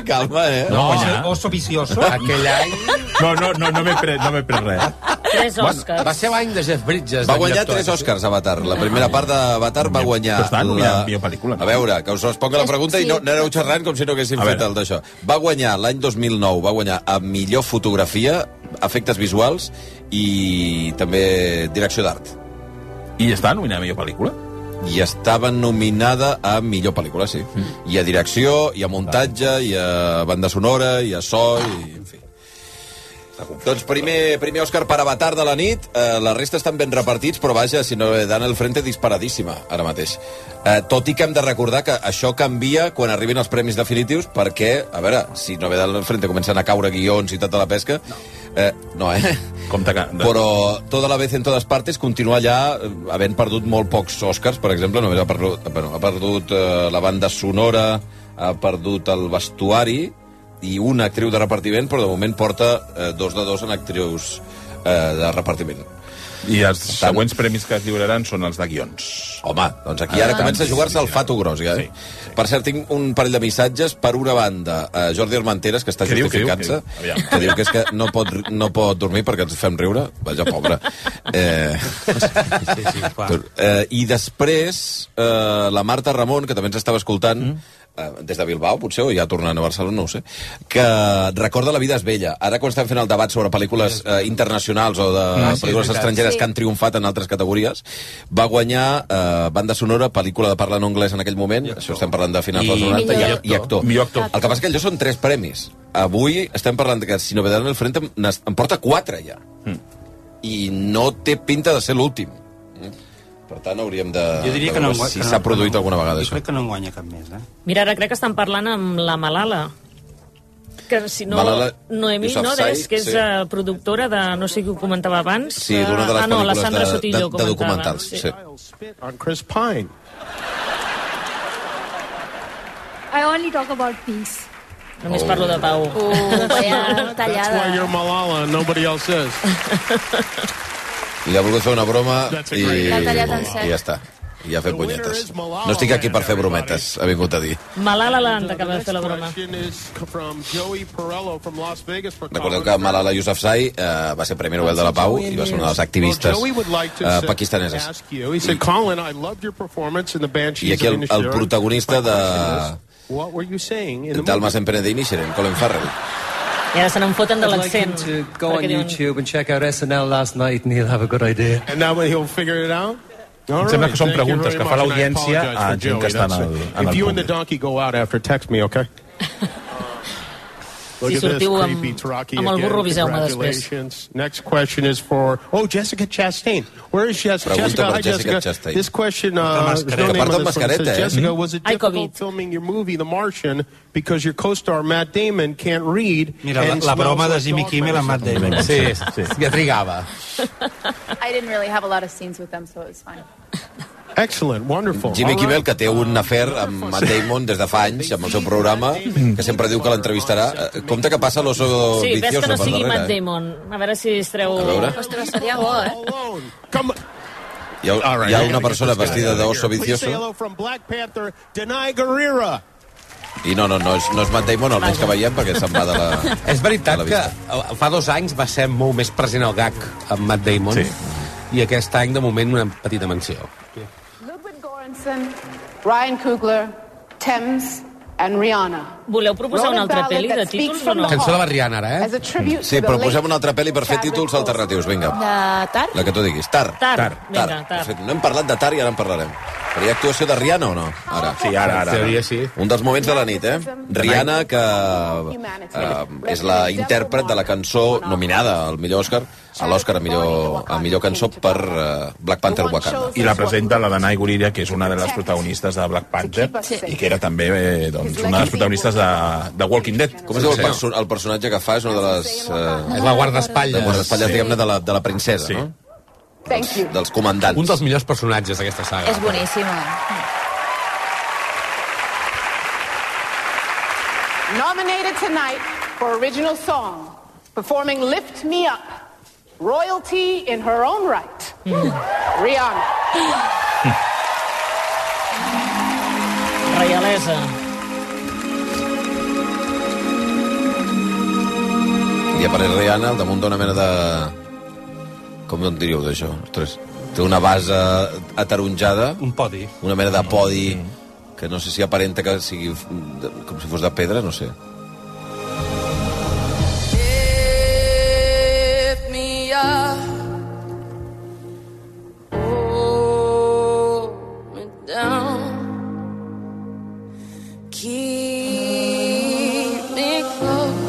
Speaker 1: calma, eh?
Speaker 4: No,
Speaker 5: Oso-
Speaker 4: guanyar.
Speaker 5: Oso vicioso.
Speaker 2: Aquell any
Speaker 4: No, no, no, no m'he pres, no m'he pres res.
Speaker 8: tres Oscars.
Speaker 2: va ser l'any de Jeff Bridges.
Speaker 1: Va
Speaker 2: de
Speaker 1: guanyar
Speaker 2: director. eh?
Speaker 1: tres Oscars, Avatar. La primera part d'Avatar va guanyar...
Speaker 4: Però estava nominada
Speaker 1: la-
Speaker 4: a millor pel·lícula, no?
Speaker 1: A veure, que us responga la pregunta i no, no aneu xerrant com si no haguéssim
Speaker 4: A
Speaker 1: fet
Speaker 4: veure.
Speaker 1: el d'això. Va guanyar l'any 2009, va guanyar a millor fotografia, efectes visuals i també direcció d'art.
Speaker 4: I està nominada a millor pel·lícula?
Speaker 1: I estava nominada a millor pel·lícula, sí. I a direcció, i a muntatge, i a banda sonora, i a so, i en fi. Doncs primer, primer Òscar per Avatar de la nit, eh, la resta estan ben repartits, però vaja, si no, eh, Dan el Frente disparadíssima ara mateix. Eh, tot i que hem de recordar que això canvia quan arribin els premis definitius, perquè, a veure, si Novedad al Frente comencen a caure guions i tota la pesca... No, eh, no eh?
Speaker 4: Compte que...
Speaker 1: Però tota la vez en totes partes continua allà eh, havent perdut molt pocs Oscars, per exemple, només ha perdut, bueno, ha perdut eh, la banda sonora, ha perdut el vestuari i una actriu de repartiment, però de moment porta eh, dos de dos en actrius eh, de repartiment.
Speaker 4: I els següents premis que es lliuraran són els de guions.
Speaker 1: Home, doncs aquí
Speaker 4: Ah,
Speaker 1: ara comença a jugar-se el fato gros, ja. Eh? Per cert, tinc un parell de missatges. Per una banda, eh, Jordi Armenteres, que està
Speaker 4: Què diu, què diu,
Speaker 1: justificant-se,
Speaker 4: què diu? Aviam.
Speaker 1: que diu que és que no pot, no pot dormir perquè ens fem riure. Vaja, pobre. Eh, eh, I després, eh, la Marta Ramon, que també ens estava escoltant,
Speaker 12: Mm.
Speaker 1: eh, des de Bilbao, potser, o ja tornant a Barcelona, no ho sé, que recorda La vida és vella. Ara, quan estem fent el debat sobre pel·lícules eh, internacionals o de
Speaker 12: Ah, sí, és
Speaker 1: pel·lícules
Speaker 12: veritat.
Speaker 1: estrangeres
Speaker 12: Sí.
Speaker 1: que han triomfat en altres categories, va guanyar eh, banda sonora, pel·lícula de parla en anglès en aquell moment, això estem parlant de finals
Speaker 4: I-
Speaker 1: dels 90, i,
Speaker 4: Millor
Speaker 1: i actor.
Speaker 4: Millor actor.
Speaker 1: El que passa que allò són tres premis. Avui estem parlant que si novedad en el frente n'es- en porta quatre ja.
Speaker 13: Hmm.
Speaker 1: I no té pinta de ser l'últim. Mm. Per tant, hauríem de...
Speaker 5: Jo diria que
Speaker 1: de
Speaker 5: no
Speaker 1: veure
Speaker 5: engua-
Speaker 1: Si
Speaker 5: que no-
Speaker 1: s'ha produït alguna vegada,
Speaker 5: Jo
Speaker 1: això.
Speaker 5: crec que no en guanya cap més, eh?
Speaker 8: Mira, ara crec que estan parlant amb la Malala. Que si no...
Speaker 1: Malala
Speaker 8: Noemí, no?
Speaker 1: Yousafzai,
Speaker 8: Des, que és
Speaker 1: sí.
Speaker 8: eh, productora de... No sé qui ho comentava abans.
Speaker 1: Sí, d'una de les
Speaker 8: ah, no, la
Speaker 1: pel·lícules
Speaker 8: Sandra
Speaker 1: de-
Speaker 8: Sotillo
Speaker 1: de- de
Speaker 8: comentava,
Speaker 1: documentals, sí.
Speaker 13: on Chris Pine.
Speaker 14: I only talk about peace.
Speaker 8: Només parlo de pau.
Speaker 15: Oh.
Speaker 14: Uh, vaya
Speaker 13: That's why
Speaker 14: tallada.
Speaker 13: you're Malala and nobody else is.
Speaker 1: Li ha volgut fer una broma
Speaker 13: That's a
Speaker 1: i,
Speaker 13: great-
Speaker 8: L'ha tallat en sec.
Speaker 1: i ja està. I ha fet punyetes. No estic aquí per fer brometes, ha vingut a dir.
Speaker 8: Malala l'han acabat de fer la broma.
Speaker 13: From Joey Perello from Las Vegas for
Speaker 1: Recordeu que Malala Yousafzai eh, va ser Premi Nobel de la Pau i va ser una de les activistes
Speaker 13: Joey would like to
Speaker 1: eh,
Speaker 13: say-
Speaker 1: pakistaneses.
Speaker 13: ask you. He said, Colin, I loved your performance in the Banshees
Speaker 1: I aquí
Speaker 13: of
Speaker 1: el, el
Speaker 13: Inisherin.
Speaker 1: protagonista de,
Speaker 13: What were you saying in the
Speaker 1: del Mas Emprenedin i Xeren, Colin Farrell.
Speaker 8: I ara se n'enfoten de
Speaker 15: I'd like
Speaker 8: l'accent.
Speaker 15: him to go on
Speaker 8: perquè diuen-
Speaker 15: YouTube and check out SNL last night and he'll have a good idea.
Speaker 13: And now he'll figure it out?
Speaker 4: Em sembla que són preguntes que fa l'audiència a gent que està en el, en
Speaker 13: If
Speaker 4: el
Speaker 13: you and the
Speaker 4: públic.
Speaker 13: donkey go out after, text me, okay? Look
Speaker 8: Si
Speaker 13: at this
Speaker 8: sortiu amb-
Speaker 13: creepy Taraki
Speaker 8: amb el
Speaker 2: eh?
Speaker 13: again.
Speaker 8: burro, aviseu-me després.
Speaker 13: Congratulations. Next question is for... Oh, Jessica Chastain. Where is Jessica?
Speaker 1: Pregunta
Speaker 13: Jessica,
Speaker 1: per
Speaker 13: hi,
Speaker 1: Jessica
Speaker 13: Jessica.
Speaker 1: Chastain.
Speaker 13: This question... Uh,
Speaker 1: Porta
Speaker 13: there's
Speaker 1: mascareta.
Speaker 13: no name
Speaker 1: Porta
Speaker 13: on this one. It says,
Speaker 1: mascareta, eh?
Speaker 13: Jessica, was it
Speaker 1: Ai,
Speaker 13: difficult filming your movie, The Martian, because your co-star Matt Damon can't read
Speaker 5: Mira, la,
Speaker 13: and
Speaker 5: la
Speaker 13: smells
Speaker 5: broma de
Speaker 13: like
Speaker 5: Jimmy
Speaker 13: dog
Speaker 5: Kimmel amb Matt Damon.
Speaker 2: Sí, sí.
Speaker 5: ja trigava.
Speaker 3: I didn't really have a lot of scenes with them, so it was fine.
Speaker 13: Excellent, wonderful.
Speaker 1: Jimmy Kimmel, que té un afer amb Matt Damon des de fa anys, amb el seu programa, que sempre diu que l'entrevistarà. Eh, Compte que passa l'oso
Speaker 8: Sí, ves que
Speaker 1: vicioso
Speaker 8: no
Speaker 1: per
Speaker 8: sigui Matt
Speaker 1: darrere. eh?
Speaker 8: Damon. A veure si es treu...
Speaker 1: A veure.
Speaker 3: Ostres, seria bo, eh?
Speaker 1: Hi ha, hi ha una persona vestida d'oso
Speaker 13: Please say
Speaker 1: vicioso
Speaker 13: hello from Black Panther, Denai Guerrera.
Speaker 1: i no, no, no és, no és Matt Damon, almenys que veiem, perquè se'n va de la...
Speaker 2: És veritat que eh, fa dos anys va ser molt més present el gag amb Matt Damon sí. i aquest any, de moment, una petita menció.
Speaker 16: Sorensen, Ryan Coogler, Thames, and Rihanna.
Speaker 8: Voleu proposar
Speaker 16: Wrote
Speaker 8: una
Speaker 16: a
Speaker 8: altra
Speaker 16: ballad
Speaker 8: pel·li de
Speaker 16: that speaks
Speaker 8: títols o
Speaker 16: from
Speaker 8: no?
Speaker 16: the
Speaker 2: Cançó de eh? la
Speaker 16: heart
Speaker 2: Rihanna, ara,
Speaker 16: As a tribute
Speaker 1: Sí,
Speaker 16: to the
Speaker 1: proposem
Speaker 16: late
Speaker 1: una altra pel·li per fer títols alternatius, vinga.
Speaker 3: De Tar?
Speaker 1: La que tu diguis. Tar.
Speaker 3: Tar. Vinga,
Speaker 1: Tar.
Speaker 3: Tar.
Speaker 1: De fet, no hem parlat de Tar i ara en parlarem. Però hi ha actuació de Rihanna o no? Ara.
Speaker 4: Sí, ara, ara. En teoria,
Speaker 1: sí. Un dels moments de la nit, eh? Rihanna, que eh, és la intèrpret de la cançó nominada al millor Òscar, a l'Òscar a millor, a millor cançó per eh, Black Panther Wakanda.
Speaker 4: I la presenta la Danai Gurira, que és una de les protagonistes de Black Panther i que era també eh, doncs, una de les protagonistes de, de Walking Dead.
Speaker 1: Com es diu el, perso el personatge que fa? És una de les... Eh,
Speaker 2: És la guardaespatlles.
Speaker 1: De guardaespatlles,
Speaker 2: Sí.
Speaker 1: diguem-ne, de, la, de la princesa, sí. no?
Speaker 16: Thank you.
Speaker 1: Dels comandants.
Speaker 2: Un dels millors personatges d'aquesta saga.
Speaker 3: És boníssima.
Speaker 16: Nominated tonight for original song, performing Lift Me Up, royalty in her own right,
Speaker 8: Hmm.
Speaker 16: Rihanna.
Speaker 8: Reialesa.
Speaker 1: I apareix Rihanna al damunt d'una mena de... Com en diríeu d'això? Ostres, té una base ataronjada.
Speaker 2: Mm.
Speaker 1: Un podi. Una mena de podi que no sé si aparenta que sigui f- de- com si fos de pedra, no sé.
Speaker 17: Lift me up. Hold me down. Keep me close.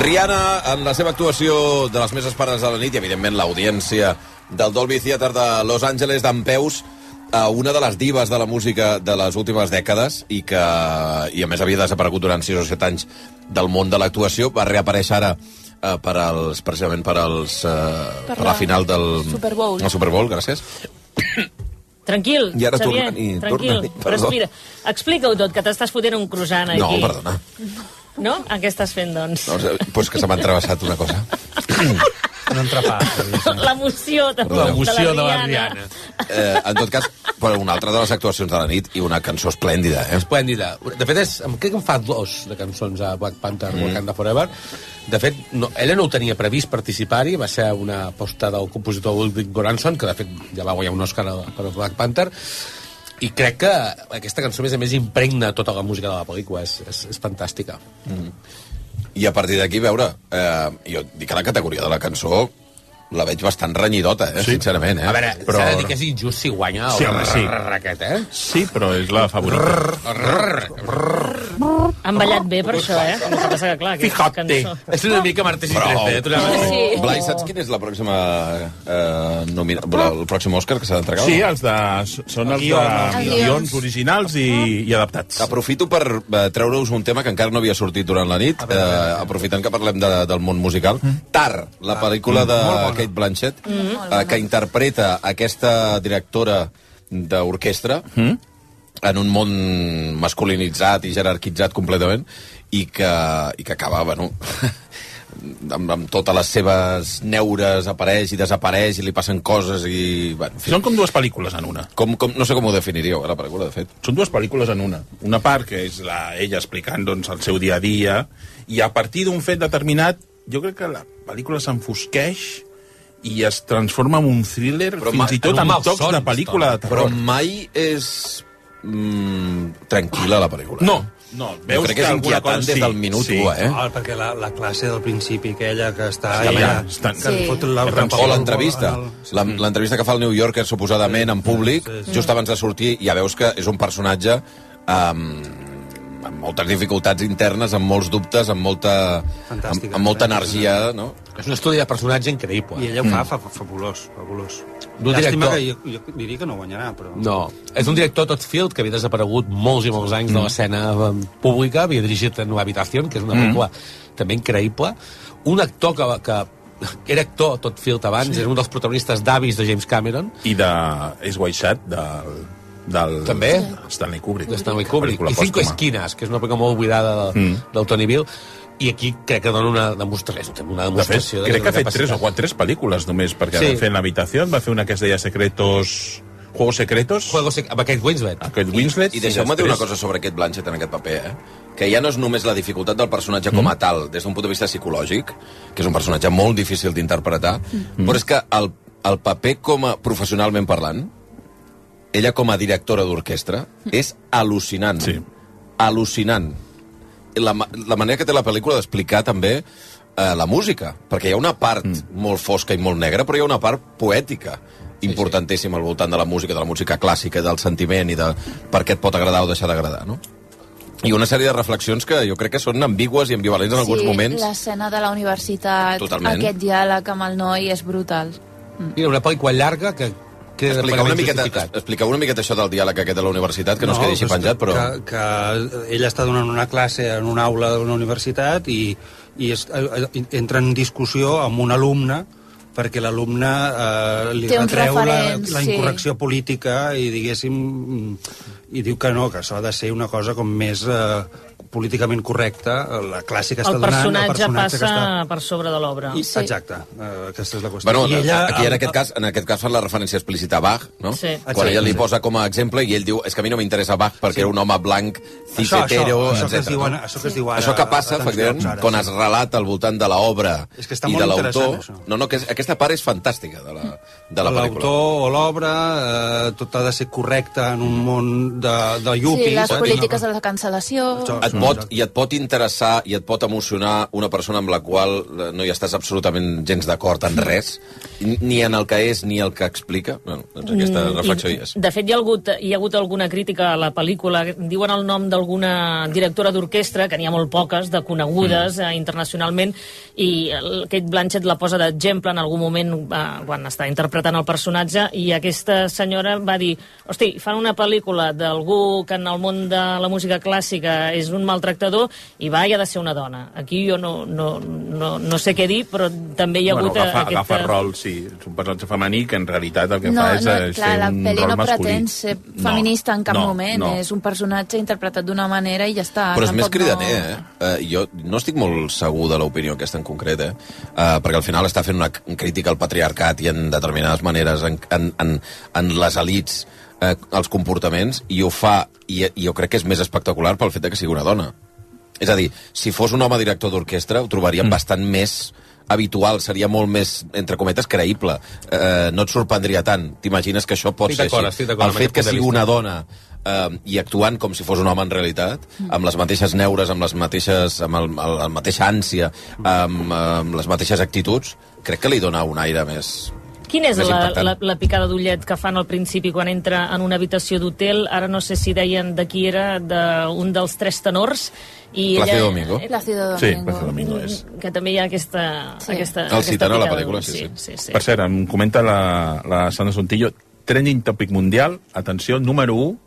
Speaker 1: Rihanna, en la seva actuació de les més esperades de la nit, i evidentment l'audiència del Dolby Theater de Los Angeles d'en Peus, a una de les divas de la música de les últimes dècades i que, i a més, havia desaparegut durant 6 o 7 anys del món de l'actuació, va reaparèixer ara eh, per als, precisament per, als, eh, per,
Speaker 8: Per
Speaker 1: la
Speaker 8: la
Speaker 1: final del
Speaker 8: Super Bowl.
Speaker 1: El Super Bowl, gràcies.
Speaker 8: Tranquil,
Speaker 1: I ara
Speaker 8: Xavier,
Speaker 1: torna-hi,
Speaker 8: tranquil,
Speaker 1: torna-hi, perdó.
Speaker 8: respira. Explica-ho tot, que t'estàs fotent un croissant aquí.
Speaker 1: No, perdona.
Speaker 8: No? Ah, Què estàs fent, doncs?
Speaker 1: No, eh, doncs que se m'ha entrevessat una cosa.
Speaker 5: Un entrepà.
Speaker 8: L'emoció de,
Speaker 1: L'emoció
Speaker 8: de la Rihanna.
Speaker 2: Rihanna.
Speaker 1: Eh, en tot cas, però una altra de les actuacions de la nit i una cançó esplèndida, eh?
Speaker 2: esplèndida. De fet, és, em crec que en fa dos de cançons a Black Panther, mm. Wakanda Forever. De fet, no, ella no ho tenia previst participar-hi, va ser una aposta del compositor Ulrich Goranson, que de fet ja va guanyar un Oscar a- per Black Panther, i crec que aquesta cançó, a més a més, impregna tota la música de la pel·lícula. És, és, és fantàstica.
Speaker 1: I a partir d'aquí, a veure, eh, jo dic que la categoria de la cançó la veig bastant renyidota, eh, sí. sincerament. Eh?
Speaker 2: A veure,
Speaker 1: però...
Speaker 2: s'ha de dir que és injust si guanya el
Speaker 1: Sí, home, sí.
Speaker 2: raquet, eh?
Speaker 4: Sí, però és la favorita.
Speaker 8: Han ballat bé per això, eh? El que passa que, clar, aquesta cançó...
Speaker 2: És una mica Martes i
Speaker 1: Però,
Speaker 2: Trece, eh? Tu anaves-
Speaker 8: Sí.
Speaker 1: Blai, saps quin és la pròxima eh, nomina... el pròxim Òscar que s'ha d'entregar?
Speaker 4: Sí,
Speaker 1: o no?
Speaker 4: els de, són els
Speaker 1: Guions.
Speaker 4: de
Speaker 1: Els guions.
Speaker 4: guions originals i, i adaptats.
Speaker 1: Aprofito per eh, treure-us un tema que encara no havia sortit durant la nit, eh, aprofitant que parlem de, del món musical. Tar, la pel·lícula de Kate Blanchett, eh, que interpreta aquesta directora d'orquestra en un món masculinitzat i jerarquitzat completament i que, i que acaba, bueno, amb, amb totes les seves neures apareix i desapareix i li passen coses i... Bueno, en fi.
Speaker 4: Són com dues pel·lícules en una.
Speaker 1: Com, com, no sé com ho definiríeu, eh, la pel·lícula, de fet.
Speaker 4: Són dues pel·lícules en una. Una part que és la, ella explicant doncs, el seu dia a dia i a partir d'un fet determinat jo crec que la pel·lícula s'enfosqueix i es transforma en un thriller però fins i tot amb tocs de pel·lícula de
Speaker 1: Però
Speaker 4: terror.
Speaker 1: mai és mm, tranquil·la la pel·lícula.
Speaker 4: No, no.
Speaker 1: Veus crec que és
Speaker 4: alguna
Speaker 1: inquietant
Speaker 4: cosa
Speaker 1: des
Speaker 4: sí,
Speaker 1: del minut
Speaker 4: sí.
Speaker 1: 1, eh?
Speaker 5: Ah, perquè la, la classe del principi, aquella que està...
Speaker 1: Sí,
Speaker 5: allà,
Speaker 1: ja,
Speaker 5: que li fot la
Speaker 1: O l'entrevista. La- L'entrevista que fa el New Yorker, suposadament, en públic, just abans de sortir, ja veus que és un personatge amb, amb moltes dificultats internes, amb molts dubtes, amb molta, amb, amb molta energia, no?
Speaker 2: És un estudi de personatge increïble. Mm.
Speaker 5: I ella ho fa, fa, fa fabulós, fabulós.
Speaker 2: D'un
Speaker 5: Llàstima
Speaker 2: director.
Speaker 5: que jo, jo diria que no guanyarà, però...
Speaker 2: No. És un director Todd que havia desaparegut molts i molts anys de l'escena eh, pública, havia dirigit en l'habitació, que és una
Speaker 4: Mm.
Speaker 2: pel·lícula també increïble. Un actor que, que era actor Todd Field abans,
Speaker 4: Sí.
Speaker 2: era un dels protagonistes d'Avis de James Cameron.
Speaker 4: I de És Guaixat, del, del
Speaker 2: També.
Speaker 4: Stanley Kubrick.
Speaker 2: de Stanley Kubrick.
Speaker 4: Pel·lícula
Speaker 2: I Cinco
Speaker 4: pòstuma.
Speaker 2: Esquinas, que és una pel·lícula molt oblidada de,
Speaker 4: Mm.
Speaker 2: mm. del Tony Bill. I aquí crec que dona una demostració. Una
Speaker 4: De fet,
Speaker 2: demostració
Speaker 4: crec que ha fet
Speaker 2: capacitat.
Speaker 4: tres o quatre, tres pel·lícules només, perquè
Speaker 2: Sí.
Speaker 4: sí. va fer en l'habitació, va fer una que es deia Secretos... Juegos Secretos.
Speaker 2: Juegos amb aquest Winslet.
Speaker 4: Aquest Winslet.
Speaker 1: I, i deixeu-me dir una cosa sobre aquest Blanchett en aquest paper, eh? que ja no és només la dificultat del personatge com a tal, des d'un punt de vista psicològic, que és un personatge molt difícil d'interpretar, però és que el, el paper com a professionalment parlant, ella com a directora d'orquestra, és al·lucinant. Mm. Sí. Al·lucinant. La, ma- la manera que té la pel·lícula d'explicar també eh, la música, perquè hi ha una part mm. molt fosca i molt negra, però hi ha una part poètica importantíssima al voltant de la música, de la música clàssica, del sentiment i de per què et pot agradar o deixar d'agradar, no? I una sèrie de reflexions que jo crec que són ambigües i ambivalents en alguns
Speaker 12: sí,
Speaker 1: moments.
Speaker 12: l'escena de la universitat,
Speaker 1: Totalment.
Speaker 12: aquest diàleg amb el noi és brutal.
Speaker 2: Mira, una pel·lícula llarga que... que
Speaker 1: Explica una, miqueta, explica una miqueta això del diàleg aquest de la universitat, que no, no es quedi així
Speaker 5: que-
Speaker 1: penjat, però...
Speaker 5: Que, que ella està donant una classe en una aula d'una universitat i, i es, eh, eh, entra en discussió amb un alumne perquè l'alumne eh, li
Speaker 12: Té un
Speaker 5: retreu la,
Speaker 12: referent,
Speaker 5: la
Speaker 12: sí.
Speaker 5: incorrecció política i diguéssim mm, i diu que no, que això ha de ser una cosa com més eh, políticament correcta eh, la classe que està
Speaker 8: El
Speaker 5: donant
Speaker 8: personatge,
Speaker 5: el personatge
Speaker 8: passa
Speaker 5: que està...
Speaker 8: per sobre de l'obra.
Speaker 5: I, Exacte, eh, aquesta és la qüestió.
Speaker 1: Bueno,
Speaker 5: I
Speaker 1: ella, aquí en
Speaker 5: el-
Speaker 1: aquest cas en aquest cas fan la referència explícita a Bach, no?
Speaker 5: Sí.
Speaker 1: Quan
Speaker 5: Exacte.
Speaker 1: ella li posa com a exemple i ell diu, és que a mi no m'interessa Bach perquè sí. era un home blanc,
Speaker 5: Això,
Speaker 1: cicetero,
Speaker 5: això, això que es
Speaker 1: etc.
Speaker 5: diu ara- això que es diu ara-
Speaker 1: això que passa,
Speaker 5: atenció,
Speaker 1: efectivament,
Speaker 5: ara,
Speaker 1: quan
Speaker 5: sí.
Speaker 1: es relata al voltant de l'obra
Speaker 5: És que està
Speaker 1: i
Speaker 5: molt
Speaker 1: de
Speaker 5: interessant,
Speaker 1: l'autor...
Speaker 5: això.
Speaker 1: No, no, que és, aquesta part és fantàstica de la, de la pel·lícula.
Speaker 5: L'autor o l'obra, eh, tot ha de ser correcte en un món de, de
Speaker 12: Sí,
Speaker 5: yuppies. eh?
Speaker 12: les polítiques de la cancel·lació...
Speaker 5: Això,
Speaker 1: Et pot, I et pot interessar i et pot emocionar una persona amb la qual eh, no hi estàs absolutament gens d'acord en res, ni en el que és ni el que explica. Bueno, doncs aquesta
Speaker 8: Mm,
Speaker 1: reflexió
Speaker 8: i,
Speaker 1: hi és.
Speaker 8: De fet, hi ha, hagut, hi ha hagut alguna crítica a la pel·lícula. Diuen el nom d'alguna directora d'orquestra, que n'hi ha molt poques, de conegudes
Speaker 1: Mm.
Speaker 8: eh, internacionalment, i el Kate Blanchett la posa d'exemple en algun moment eh, quan està interpretant el personatge, i aquesta senyora va dir hosti, fan una pel·lícula d'algú que en el món de la música clàssica és un maltractador, i va, hi ha de ser una dona. Aquí jo no, no, no, no sé què dir, però també hi ha
Speaker 4: bueno,
Speaker 8: hagut eh,
Speaker 4: agafa,
Speaker 8: aquesta...
Speaker 4: agafa rol, sí. És un personatge femení que en realitat el que
Speaker 12: no,
Speaker 4: fa és
Speaker 12: no,
Speaker 4: eh,
Speaker 12: clar,
Speaker 4: ser
Speaker 12: la
Speaker 4: un
Speaker 12: pel·li
Speaker 4: rol
Speaker 12: no
Speaker 4: masculí.
Speaker 12: pretén ser feminista en cap
Speaker 1: no,
Speaker 12: moment.
Speaker 1: no.
Speaker 12: És un personatge interpretat d'una manera i ja està.
Speaker 1: Però és més
Speaker 12: tampoc
Speaker 1: cridaner,
Speaker 12: no...
Speaker 1: eh? eh? Jo no estic molt segur de l'opinió aquesta en concret, eh? eh? Perquè al final està fent una c- crítica al patriarcat i en determinades maneres, en, en, en, en les elites, eh, els comportaments, i ho fa, i, i jo crec que és més espectacular pel fet de que sigui una dona. És a dir, si fos un home director d'orquestra, ho trobaríem mm. bastant més habitual, seria molt més, entre cometes, creïble. Eh, no et sorprendria tant. T'imagines que això pot
Speaker 2: Estic
Speaker 1: ser
Speaker 2: d'acord,
Speaker 1: així.
Speaker 2: estic d'acord
Speaker 1: El
Speaker 2: amb
Speaker 1: fet
Speaker 2: aquest
Speaker 1: que
Speaker 2: punt de
Speaker 1: sigui
Speaker 2: vista.
Speaker 1: una dona eh, i actuant com si fos un home en realitat, amb les mateixes neures, amb les mateixes amb el, el, el mateixa ànsia, amb, amb les mateixes actituds, crec que li dona un aire més...
Speaker 8: Quina és
Speaker 1: Més
Speaker 8: la,
Speaker 1: impactant.
Speaker 8: la, la picada d'ullet que fan al principi quan entra en una habitació d'hotel? Ara no sé si deien de qui era, d'un dels tres tenors. I
Speaker 1: Plácido Domingo.
Speaker 12: Plácido Domingo.
Speaker 4: Sí, Plácido Domingo és.
Speaker 8: Que també hi ha aquesta... Sí. aquesta
Speaker 4: El
Speaker 8: aquesta
Speaker 4: citan a la
Speaker 8: picada
Speaker 4: pel·lícula,
Speaker 8: d'ullet.
Speaker 4: sí,
Speaker 8: sí. sí, sí.
Speaker 4: Per cert, em comenta la, la Sandra Sontillo, trending topic mundial, atenció, número 1,